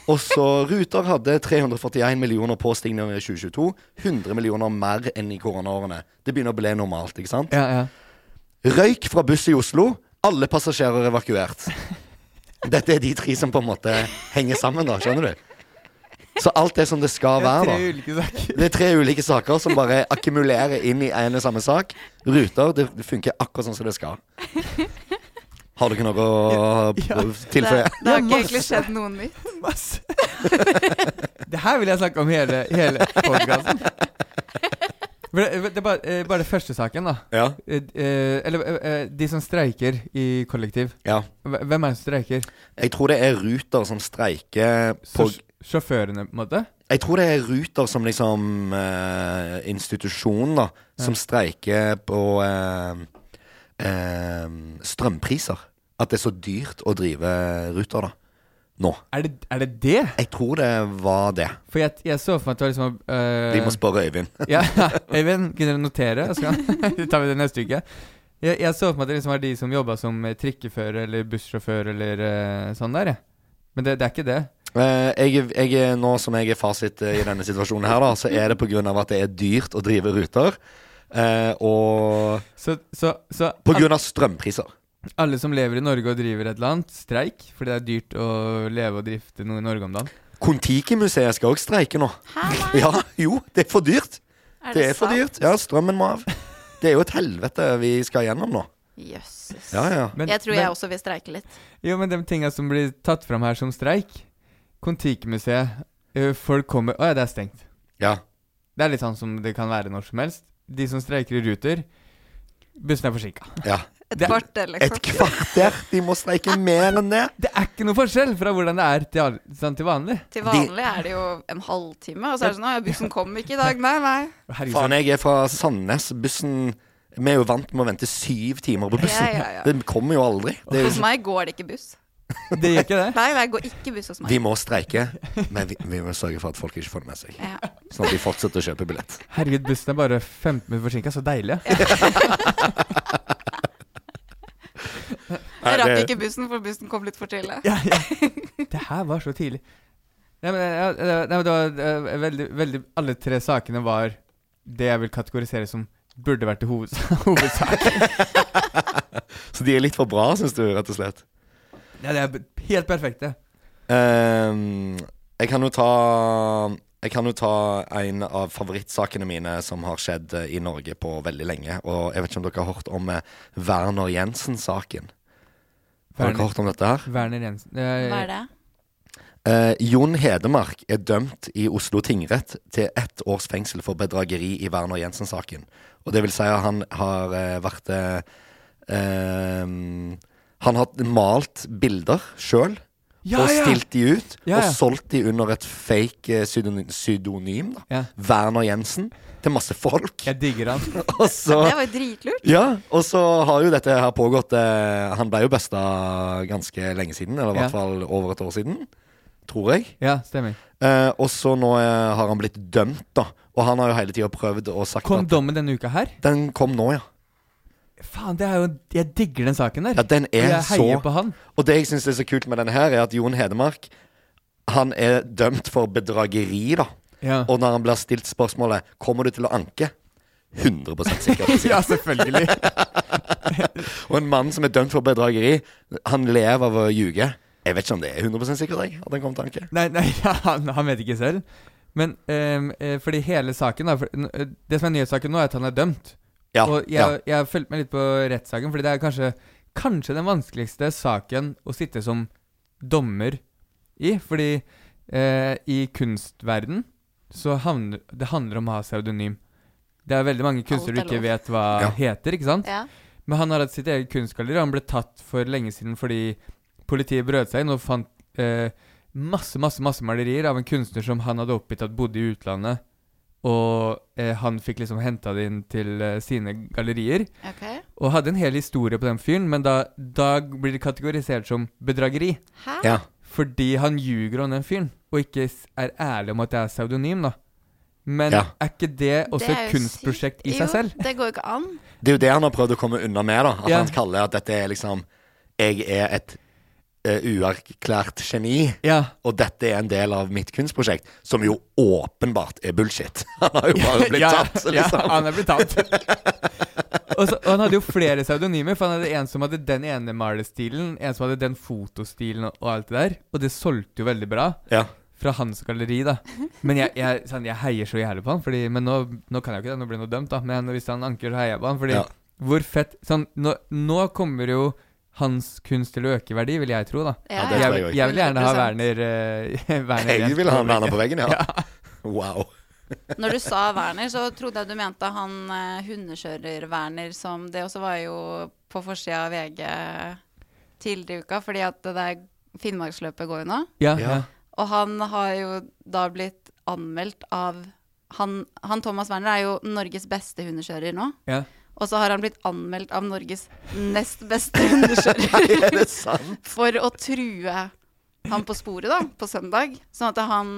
[SPEAKER 3] Og så Ruter hadde 341 millioner påstigninger i 2022. 100 millioner mer enn i koronaårene. Det begynner å bli normalt, ikke sant?
[SPEAKER 2] Ja, ja.
[SPEAKER 3] Røyk fra buss i Oslo Alle passasjerer evakuert. Dette er de tre som på en måte henger sammen, da. Skjønner du? Så alt er som det skal være, da. Det er tre ulike saker som bare akkumulerer inn i en og samme sak. Ruter, det det funker akkurat sånn som det skal. Har dere noe å
[SPEAKER 5] Det, det
[SPEAKER 3] tilføye?
[SPEAKER 5] har ikke egentlig skjedd noe nytt.
[SPEAKER 2] Det her vil jeg snakke om hele, hele podkasten. For det, det er bare, eh, bare første saken, da.
[SPEAKER 3] Ja.
[SPEAKER 2] Eh, eh, Eller eh, eh, de som streiker i kollektiv.
[SPEAKER 3] Ja.
[SPEAKER 2] Hve- Hvem er det som streiker?
[SPEAKER 3] Jeg tror det er Ruter som streiker på
[SPEAKER 2] Sj- Sjåførene, på en måte?
[SPEAKER 3] Jeg tror det er Ruter som liksom eh, institusjon, da, som streiker på eh, eh, strømpriser. At det er så dyrt å drive Ruter, da. Nå.
[SPEAKER 2] Er det er det? det?
[SPEAKER 3] Jeg tror det var det.
[SPEAKER 2] For jeg, jeg så for meg at det var liksom eh,
[SPEAKER 3] Vi må spørre Øyvind.
[SPEAKER 2] ja, Øyvind, kunne dere notere? Og Så kan- så tar vi det neste uke. Jeg, jeg så for meg at det liksom var de som jobba som eh, trikkefører eller bussjåfør eller eh, sånn der, jeg. Men det, det er ikke det.
[SPEAKER 3] Eh, jeg, jeg, nå som jeg er fasit eh, i denne situasjonen her, da, så er det pga. at det er dyrt å drive Ruter. eh, og
[SPEAKER 2] Så, så, så
[SPEAKER 3] pga. strømpriser.
[SPEAKER 2] alle som lever i Norge og driver et eller annet, streik. Fordi det er dyrt å leve og drifte noe i Norge om dagen.
[SPEAKER 3] Kon-Tiki-museet skal òg streike nå. Ja, jo, det er for dyrt. det,
[SPEAKER 5] Er det
[SPEAKER 3] er for
[SPEAKER 5] sant?
[SPEAKER 3] dyrt. Ja, strømmen må av. Det er jo et helvete vi skal gjennom nå.
[SPEAKER 5] Jøsses.
[SPEAKER 3] Ja, ja.
[SPEAKER 2] Men-
[SPEAKER 5] jeg tror
[SPEAKER 2] men-
[SPEAKER 5] jeg også vil streike litt.
[SPEAKER 2] Jo, men de tinga som blir tatt fram her som streik Kon-Tiki-museet. eh, Folk kommer Å ja, det er stengt.
[SPEAKER 3] Ja.
[SPEAKER 2] Det er litt sånn som det kan være når som helst. De som streiker i Ruter Bussen er forsinka.
[SPEAKER 3] ja.
[SPEAKER 2] Det-
[SPEAKER 5] kvarter, liksom.
[SPEAKER 3] Et kvarter! De må streike mer enn det.
[SPEAKER 2] Det er ikke noe forskjell fra hvordan det er til, al- sånn, til vanlig.
[SPEAKER 5] Til vanlig er det jo en halvtime, og så er det sånn Å ja, bussen kom ikke i dag. Nei, nei.
[SPEAKER 2] Herregud,
[SPEAKER 3] Faen, jeg er fra Sandnes. Bussen Vi er jo vant med å vente syv timer på bussen.
[SPEAKER 5] Ja, ja, ja.
[SPEAKER 3] Den kommer jo aldri. Det er
[SPEAKER 5] Hos
[SPEAKER 3] jo
[SPEAKER 5] meg går det ikke buss.
[SPEAKER 2] det gjør ikke det.
[SPEAKER 5] Nei, det går ikke buss hos meg.
[SPEAKER 3] vi må streike, men vi, vi må sørge for at folk ikke får det med seg.
[SPEAKER 5] Ja.
[SPEAKER 3] Sånn at de fortsetter å kjøpe billett.
[SPEAKER 2] Herregud, bussen er bare 15 minutter forsinka. Så deilig.
[SPEAKER 5] Jeg rakk ikke bussen, for bussen kom litt for tidlig.
[SPEAKER 2] ja, ja. Det her var så tidlig. Nei, men, ja, det, nei, men det var eh, veldig, veldig Alle tre sakene var det jeg vil kategorisere som burde vært i hoveds hovedsak.
[SPEAKER 3] Så de er litt for bra, syns du, rett og slett?
[SPEAKER 2] ja, det er b- helt perfekte.
[SPEAKER 3] Ehm, jeg kan jo ta Jeg kan jo ta en av favorittsakene mine som har skjedd eh, i Norge på veldig lenge. Og jeg vet ikke om dere har hørt om eh, Werner Jensen-saken. Har dere
[SPEAKER 2] Werner,
[SPEAKER 3] hørt om dette her?
[SPEAKER 2] Werner Jensen.
[SPEAKER 5] Hva er det?
[SPEAKER 3] Eh, Jon Hedemark er dømt i Oslo tingrett til ett års fengsel for bedrageri i Werner Jensen-saken. Og det vil si at han har eh, vært eh, ehm, Han har malt bilder sjøl
[SPEAKER 2] Ja,
[SPEAKER 3] og
[SPEAKER 2] ja.
[SPEAKER 3] stilt de ut.
[SPEAKER 2] Ja, ja.
[SPEAKER 3] Og solgt de under et fake eh, pseudonym, pseudonym da.
[SPEAKER 2] Ja.
[SPEAKER 3] Werner Jensen, til masse folk.
[SPEAKER 2] Jeg digger han.
[SPEAKER 3] Og så
[SPEAKER 5] Det var jo dritlurt.
[SPEAKER 3] ja, og så har jo dette her pågått eh, Han ble jo besta ganske lenge siden, eller i
[SPEAKER 2] Ja.
[SPEAKER 3] hvert fall over et år siden, tror jeg.
[SPEAKER 2] Ja, stemmer.
[SPEAKER 3] Eh, og så nå eh, har han blitt dømt, da. Og han har jo hele tida prøvd og sagt
[SPEAKER 2] Kom
[SPEAKER 3] at
[SPEAKER 2] dommen denne uka her?
[SPEAKER 3] Den kom nå, ja.
[SPEAKER 2] Faen, det er jo Jeg digger den saken der.
[SPEAKER 3] ja den
[SPEAKER 2] Og
[SPEAKER 3] er
[SPEAKER 2] jeg
[SPEAKER 3] så
[SPEAKER 2] heier på han.
[SPEAKER 3] Og det jeg syns er så kult med denne her, er at Jon Hedemark Han er dømt for bedrageri, da.
[SPEAKER 2] Ja.
[SPEAKER 3] Og når han blir stilt spørsmålet Kommer du til å anke, 100 sikker.
[SPEAKER 2] ja, selvfølgelig.
[SPEAKER 3] Og en mann som er dømt for bedrageri, han lever av å ljuge. Jeg vet ikke om det er 100 sikkert, jeg. At han kom til å anke.
[SPEAKER 2] Nei, nei han, han vet ikke selv. Men ehm, eh, fordi hele saken da, for, n- eh, Det som er nyhetssaken nå, er at han er dømt.
[SPEAKER 3] Ja,
[SPEAKER 2] og jeg,
[SPEAKER 3] ja.
[SPEAKER 2] jeg har fulgt med litt på rettssaken, fordi det er kanskje, kanskje den vanskeligste saken å sitte som dommer i. Fordi eh, i kunstverden så handler det handler om å ha pseudonym. Det er veldig mange kunstnere
[SPEAKER 5] Alt
[SPEAKER 2] du ikke
[SPEAKER 5] er lov.
[SPEAKER 2] vet hva
[SPEAKER 3] Ja.
[SPEAKER 2] heter, ikke sant?
[SPEAKER 5] Ja.
[SPEAKER 2] Men han har hatt sitt eget kunstgalleri. og Han ble tatt for lenge siden fordi politiet brøt seg inn og fant eh, masse, masse masse malerier av en kunstner som han hadde oppgitt at bodde i utlandet. Og eh, han fikk liksom henta det inn til eh, sine gallerier.
[SPEAKER 5] Ok.
[SPEAKER 2] Og hadde en hel historie på den fyren, men da, da blir det kategorisert som bedrageri.
[SPEAKER 5] Hæ?
[SPEAKER 3] Ja.
[SPEAKER 2] Fordi han ljuger om den fyren, og ikke s- er ærlig om at det er pseudonym, da. Men
[SPEAKER 3] Ja.
[SPEAKER 2] er ikke det også
[SPEAKER 5] Det er
[SPEAKER 2] et
[SPEAKER 5] jo
[SPEAKER 2] kunstprosjekt i
[SPEAKER 5] sykt.
[SPEAKER 2] seg selv?
[SPEAKER 5] Jo, det går jo ikke an.
[SPEAKER 3] Det er jo det han har prøvd å komme unna med. da At
[SPEAKER 2] Ja.
[SPEAKER 3] han kaller at dette er liksom Jeg er et eh, uerklært geni,
[SPEAKER 2] Ja.
[SPEAKER 3] og dette er en del av mitt kunstprosjekt. Som jo åpenbart er bullshit. Han har jo bare blitt
[SPEAKER 2] ja,
[SPEAKER 3] tatt, liksom.
[SPEAKER 2] Ja, han er blitt tatt. Og, så, og han hadde jo flere pseudonymer, for han hadde en som hadde den ene malestilen, en som hadde den fotostilen og, og alt det der. Og det solgte jo veldig bra.
[SPEAKER 3] Ja.
[SPEAKER 2] Fra hans galleri, da. Men jeg, jeg, sånn, jeg heier så jævlig på han, fordi Men nå, nå kan jeg jo ikke det, nå blir han jo dømt, da. Men hvis han anker, så heier jeg på han. Fordi
[SPEAKER 3] Ja.
[SPEAKER 2] hvor fett sånn, nå, nå kommer jo hans kunst til å øke i verdi, vil jeg tro, da.
[SPEAKER 3] Ja, det tror jeg
[SPEAKER 2] jeg,
[SPEAKER 3] også.
[SPEAKER 2] jeg vil gjerne
[SPEAKER 5] Liksom,
[SPEAKER 2] ha Werner, eh, Werner
[SPEAKER 3] Jeg
[SPEAKER 2] rett
[SPEAKER 3] vil ha
[SPEAKER 2] på
[SPEAKER 3] Werner på
[SPEAKER 2] veggen.
[SPEAKER 3] veggen, ja. Wow.
[SPEAKER 5] Når du sa Werner, så trodde jeg du mente han eh, hundekjører-Werner som Det også var jo på forsida av VG tidligere i uka, fordi at det der Finnmarksløpet går jo nå.
[SPEAKER 2] Ja, ja.
[SPEAKER 5] Og han har jo da blitt anmeldt av Han, han Thomas Werner er jo Norges beste hundekjører nå.
[SPEAKER 2] Ja.
[SPEAKER 5] Og så har han blitt anmeldt av Norges nest beste hundekjører.
[SPEAKER 3] er det sant?
[SPEAKER 5] For å true han på sporet, da, på søndag. Sånn at han,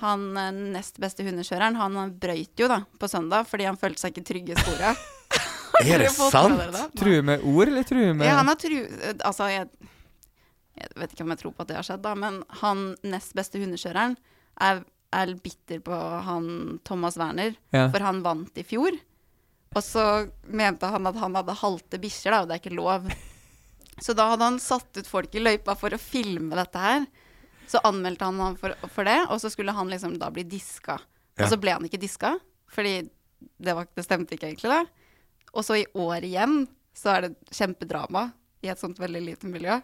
[SPEAKER 5] han eh, nest beste hundekjøreren, han brøyt jo da på søndag fordi han følte seg ikke trygg i sporet.
[SPEAKER 3] Er det
[SPEAKER 5] Dere får
[SPEAKER 3] sant?
[SPEAKER 5] prøve det, da.
[SPEAKER 2] True med ord, eller true med
[SPEAKER 5] Ja, han har tru... Altså, jeg, jeg vet ikke om jeg tror på at det har skjedd, da, men han nest beste hundekjøreren er, er bitter på han Thomas Werner,
[SPEAKER 2] Ja.
[SPEAKER 5] for han vant i fjor. Og så mente han at han hadde halte bikkjer, da, og det er ikke lov. Så da hadde han satt ut folk i løypa for å filme dette her. Så anmeldte han ham for, for det, og så skulle han liksom da bli diska.
[SPEAKER 3] Ja.
[SPEAKER 5] Og så ble han ikke diska, fordi det, var, det stemte ikke egentlig, det. Og så i år igjen så er det kjempedrama i et sånt veldig lite miljø.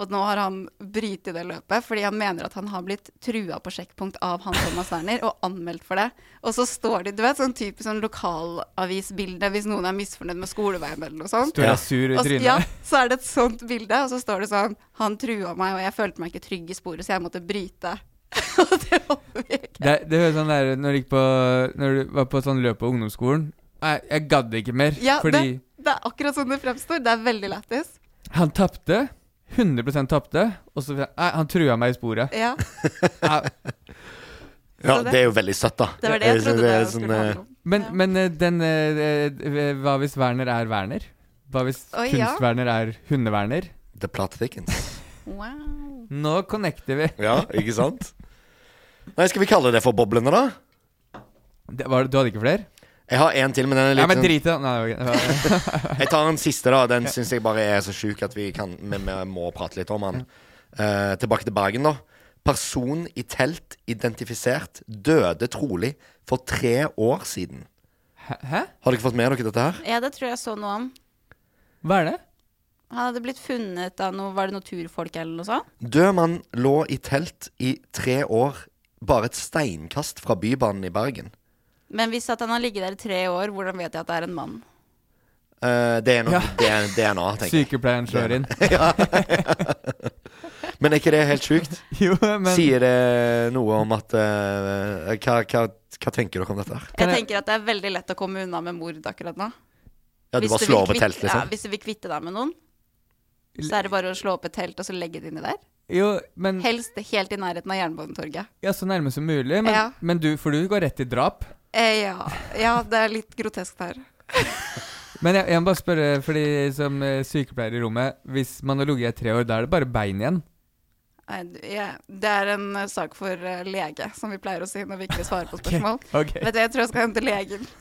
[SPEAKER 5] Og nå har han brytt i det løpet fordi han mener at han har blitt trua på sjekkpunkt av han Thomas Werner og anmeldt for det. Og så står de, du vet, sånn typisk sånn lokalavisbilde hvis noen er misfornøyd med skoleveien eller noe sånt.
[SPEAKER 2] Står og er sur i
[SPEAKER 5] Sånn. Og s-
[SPEAKER 2] trynet.
[SPEAKER 5] Ja, så er det et sånt bilde, og så står det sånn Han trua meg, og jeg følte meg ikke trygg i sporet, så jeg måtte bryte.
[SPEAKER 2] Det, det høres sånn der når du, gikk på, når du var på sånn løp på ungdomsskolen. Nei, jeg gadd ikke mer.
[SPEAKER 5] Ja,
[SPEAKER 2] fordi
[SPEAKER 5] det, det er akkurat sånn det fremstår. Det er veldig lættis.
[SPEAKER 2] han tapte. 100 tapte. Og så Nei, han trua meg i sporet.
[SPEAKER 5] Ja.
[SPEAKER 2] Nei,
[SPEAKER 3] Ja,
[SPEAKER 5] Så det-
[SPEAKER 3] det er jo veldig søtt, da.
[SPEAKER 5] Det var det jeg
[SPEAKER 3] er-
[SPEAKER 5] trodde
[SPEAKER 3] er
[SPEAKER 5] det skulle
[SPEAKER 3] sånn, eh,
[SPEAKER 5] handle om.
[SPEAKER 2] men, men eh, den eh, eh, Hva hvis Werner er Werner? Hva hvis
[SPEAKER 5] Oi, ja.
[SPEAKER 2] kunst-Werner er hunde-Werner?
[SPEAKER 3] The plot thickens.
[SPEAKER 5] Wow.
[SPEAKER 2] Nå connecter vi.
[SPEAKER 3] Ja, ikke sant? Nei, skal vi kalle det for boblene, da?
[SPEAKER 2] Det, var, du hadde ikke flere?
[SPEAKER 3] Jeg har en til, men den er litt
[SPEAKER 2] Ja, men
[SPEAKER 3] sånn-
[SPEAKER 2] drit i det. Nei, ok.
[SPEAKER 3] Jeg tar en siste, da. Den syns jeg bare er så sjuk at vi, kan, vi, vi må prate litt om den. Eh, tilbake til Bergen, da. Person i telt identifisert døde trolig for tre år siden.
[SPEAKER 2] Hæ?
[SPEAKER 3] Har dere fått med dere dette her?
[SPEAKER 5] Ja, det tror jeg så noe om.
[SPEAKER 2] Hva er det?
[SPEAKER 5] Han hadde blitt funnet av noe Var det naturfolk eller noe sånt?
[SPEAKER 3] Død mann lå i telt i tre år, bare et steinkast fra Bybanen i Bergen.
[SPEAKER 5] Men hvis at han har ligget der i tre år, hvordan vet jeg at det er en mann?
[SPEAKER 3] Eh, det er noe
[SPEAKER 2] Ja.
[SPEAKER 3] det er DNA, tenker jeg.
[SPEAKER 2] Sykepleieren slår inn.
[SPEAKER 3] Men er ikke det helt sjukt?
[SPEAKER 2] Jo, men
[SPEAKER 3] Sier det noe om at eh, hva, hva, hva tenker dere om dette? her?
[SPEAKER 2] Kan
[SPEAKER 5] Jeg
[SPEAKER 2] jeg-
[SPEAKER 5] tenker at det er veldig lett å komme unna med mord akkurat nå.
[SPEAKER 3] Ja, du
[SPEAKER 5] Hvis
[SPEAKER 3] bare
[SPEAKER 5] vil
[SPEAKER 3] slår opp
[SPEAKER 5] kvitte-
[SPEAKER 3] et telt,
[SPEAKER 5] Ja,
[SPEAKER 3] liksom?
[SPEAKER 5] hvis du vil kvitte deg med noen, så er det bare å slå opp et telt og så legge det inni der.
[SPEAKER 2] Jo, men
[SPEAKER 5] Helst helt i nærheten av Jernbanetorget.
[SPEAKER 2] Ja, så nærme som mulig. Men,
[SPEAKER 5] Ja.
[SPEAKER 2] men du, for du går rett til drap.
[SPEAKER 5] Eh, ja. ja, det er litt grotesk der.
[SPEAKER 2] Men jeg, jeg må bare spørre, fordi som eh, sykepleier i rommet Hvis man har ligget i tre år, da er det bare bein igjen?
[SPEAKER 5] Nei, du- jeg- Det er en eh, sak for eh, lege, som vi pleier å si når vi ikke vil svare på
[SPEAKER 2] Ok,
[SPEAKER 5] spørsmål.
[SPEAKER 2] ok.
[SPEAKER 5] Vet du, Jeg tror jeg skal hente legen.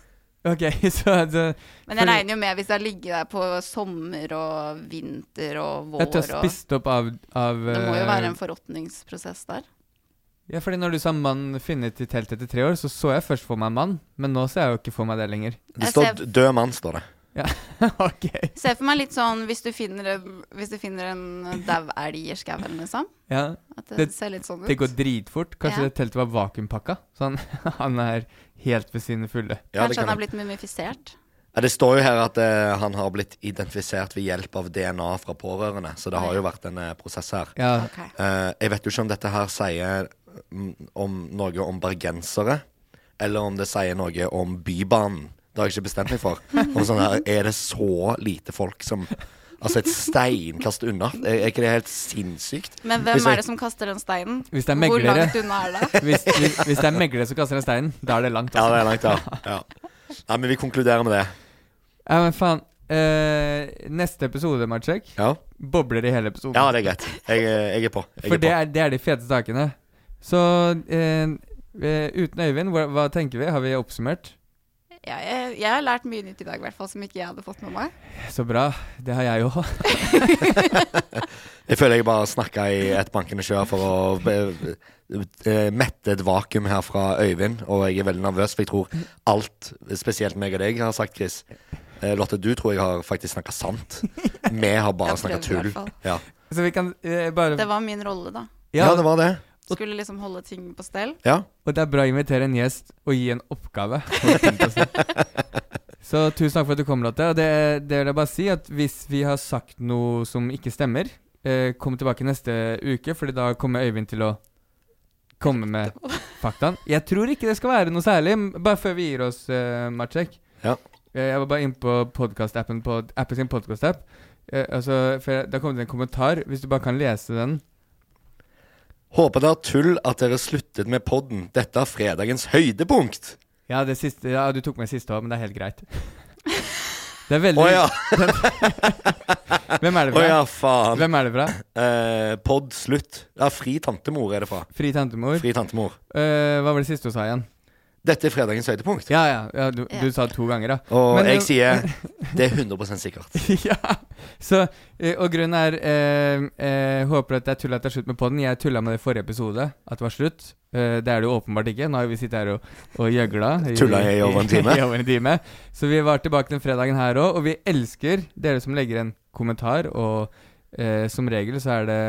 [SPEAKER 2] Ok, så, så
[SPEAKER 5] Men jeg
[SPEAKER 2] Fordi-
[SPEAKER 5] regner jo med hvis jeg ligger der på sommer og vinter og vår
[SPEAKER 2] Jeg tror jeg
[SPEAKER 5] og
[SPEAKER 2] spiste opp av, av
[SPEAKER 5] Det må jo
[SPEAKER 2] eh,
[SPEAKER 5] være en forråtningsprosess der.
[SPEAKER 2] Ja, fordi når du sa mann funnet i telt etter tre år, så så jeg først for meg en mann, men nå ser jeg jo ikke for meg det lenger.
[SPEAKER 3] Det
[SPEAKER 5] Jeg
[SPEAKER 3] står
[SPEAKER 5] ser-
[SPEAKER 3] 'død mann', står det.
[SPEAKER 2] Ja, ok.
[SPEAKER 5] Se for meg litt sånn hvis du finner, en- hvis du finner en dau elg i skauen, liksom.
[SPEAKER 2] Ja,
[SPEAKER 5] At det,
[SPEAKER 2] Det-
[SPEAKER 5] ser litt sånn ut.
[SPEAKER 2] det går dritfort. Kanskje
[SPEAKER 5] Ja.
[SPEAKER 2] det teltet var vakuumpakka? Så han, han er helt ved sine fulle.
[SPEAKER 3] Ja, det,
[SPEAKER 5] Kanskje
[SPEAKER 3] kan
[SPEAKER 5] han har
[SPEAKER 3] jeg.
[SPEAKER 5] blitt mumifisert.
[SPEAKER 3] ja, det står jo her at eh, han har blitt identifisert ved hjelp av DNA fra pårørende, så det har jo vært en eh, prosess her.
[SPEAKER 2] Ja,
[SPEAKER 5] Ok.
[SPEAKER 3] Eh, jeg vet jo ikke om dette her sier mm, om noe om bergensere, eller om det sier noe om Bybanen. Det har jeg ikke bestemt meg for. Om sånn her, Er det så lite folk som Altså, et steinkast unna? Er, er ikke det helt sinnssykt?
[SPEAKER 5] Men
[SPEAKER 3] Hvis
[SPEAKER 5] hvem
[SPEAKER 3] jeg-
[SPEAKER 5] er det som kaster den steinen?
[SPEAKER 2] Hvis det er
[SPEAKER 5] Hvor
[SPEAKER 2] meglere.
[SPEAKER 5] langt unna er det?
[SPEAKER 2] hvis, hvis, hvis det er meglere som kaster en stein, da er det langt.
[SPEAKER 3] Ja, det er langt, ja. ja. Nei, men vi konkluderer med det.
[SPEAKER 2] Ja, men faen. Eh, neste episode, Marcek,
[SPEAKER 3] Ja,
[SPEAKER 2] bobler i hele episoden.
[SPEAKER 3] ja det er greit. Jeg, er- jeg er på. Jeg
[SPEAKER 2] For
[SPEAKER 3] er på.
[SPEAKER 2] det er, det er de fete sakene. Så eh, eh, uten Øyvind, hva, hva tenker vi? Har vi oppsummert?
[SPEAKER 7] Ja, jeg, jeg har lært mye nytt i dag, i hvert fall, som ikke jeg hadde fått med meg.
[SPEAKER 2] Så bra. Det har jeg jo.
[SPEAKER 3] Jeg føler jeg bare snakka i et bankende kjør for å eh, eh, mette et vakuum her fra Øyvind, og jeg er veldig nervøs, for jeg tror alt, spesielt meg og deg, har sagt, Chris eh, Lotte, du tror jeg har faktisk snakka sant. Vi har bare
[SPEAKER 7] Jeg
[SPEAKER 3] snakka
[SPEAKER 7] prøvde i
[SPEAKER 3] tull.
[SPEAKER 7] hvert fall.
[SPEAKER 3] Ja.
[SPEAKER 2] Så vi kan eh, bare
[SPEAKER 7] Det var min rolle, da.
[SPEAKER 3] Ja. det var det.
[SPEAKER 7] Skulle liksom holde ting på stell.
[SPEAKER 2] Og det er bra å invitere en gjest og gi en oppgave. holdt jeg på å si. Så tusen takk for at du kom, Lotte. Og det, det vil jeg bare si at hvis vi har sagt noe som ikke stemmer, eh, kom tilbake neste uke, Fordi da kommer Øyvind til å komme med faktaen. Jeg tror ikke det skal være noe særlig, m- bare før vi gir oss, eh, Matsjek.
[SPEAKER 3] Ja.
[SPEAKER 2] Eh, Jeg var bare inne på podkastappen på Apple sin podkastapp. Eh, altså, for jeg- det har kommet en kommentar, hvis du bare kan lese den.
[SPEAKER 3] Håper det er tull at dere sluttet med podden. Dette er fredagens høydepunkt.
[SPEAKER 2] Ja, det siste, ja du tok med siste òg, men det er helt greit. Det er veldig
[SPEAKER 3] Å ja.
[SPEAKER 2] Hvem er det fra?
[SPEAKER 3] Å ja, faen.
[SPEAKER 2] Hvem er det fra?
[SPEAKER 3] Eh, pod slutt. Ja, Fri tantemor er det fra.
[SPEAKER 2] Fri tantemor.
[SPEAKER 3] Fri tantemor.
[SPEAKER 2] Eh, hva var det siste du sa igjen?
[SPEAKER 3] Dette er fredagens høydepunkt.
[SPEAKER 2] Ja, ja. ja du, du sa det to ganger, da.
[SPEAKER 3] Og
[SPEAKER 2] Men, eh,
[SPEAKER 3] jeg sier det er 100 sikkert.
[SPEAKER 2] ja. Så, eh, og grunnen er eh, eh, Håper at det er tull at det er slutt med podden. Jeg tulla med det i forrige episode, at det var slutt. Eh, det er det jo åpenbart ikke. Nå har vi sittet her og, og gjøgla.
[SPEAKER 3] Tulla i over en time.
[SPEAKER 2] i over en time. Så vi var tilbake den fredagen her òg, og vi elsker dere som legger en kommentar. Og eh, som regel så er det,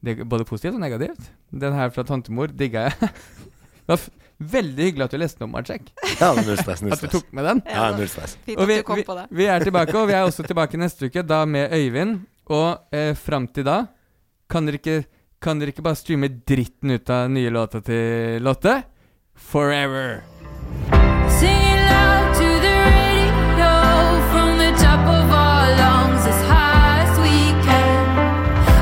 [SPEAKER 2] det er både positivt og negativt. Den her fra tantemor digga jeg. Det var f veldig hyggelig at du leste den om, Arcek.
[SPEAKER 3] Ja, null stress, null
[SPEAKER 2] At du
[SPEAKER 3] stress.
[SPEAKER 2] tok med den.
[SPEAKER 3] Ja, null stress.
[SPEAKER 7] Fint
[SPEAKER 2] Og
[SPEAKER 7] at
[SPEAKER 2] vi,
[SPEAKER 7] du kom
[SPEAKER 2] vi,
[SPEAKER 7] på det.
[SPEAKER 2] vi er tilbake, og vi er også tilbake neste uke, da med Øyvind. Og eh, fram til da kan dere, ikke, kan dere ikke bare streame dritten ut av nye låta til Lotte? Forever.
[SPEAKER 5] Sing it loud to the radio from the top of our lungs as high as we can.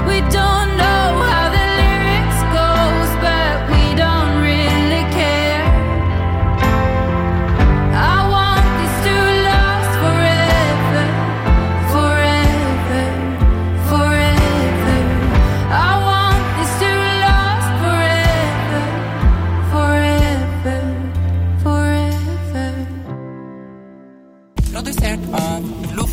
[SPEAKER 5] We don't know how the lyrics goes, but we don't really care. I want this to last forever, forever, forever. I want this to last forever, forever, forever.
[SPEAKER 8] Produsert av Loff.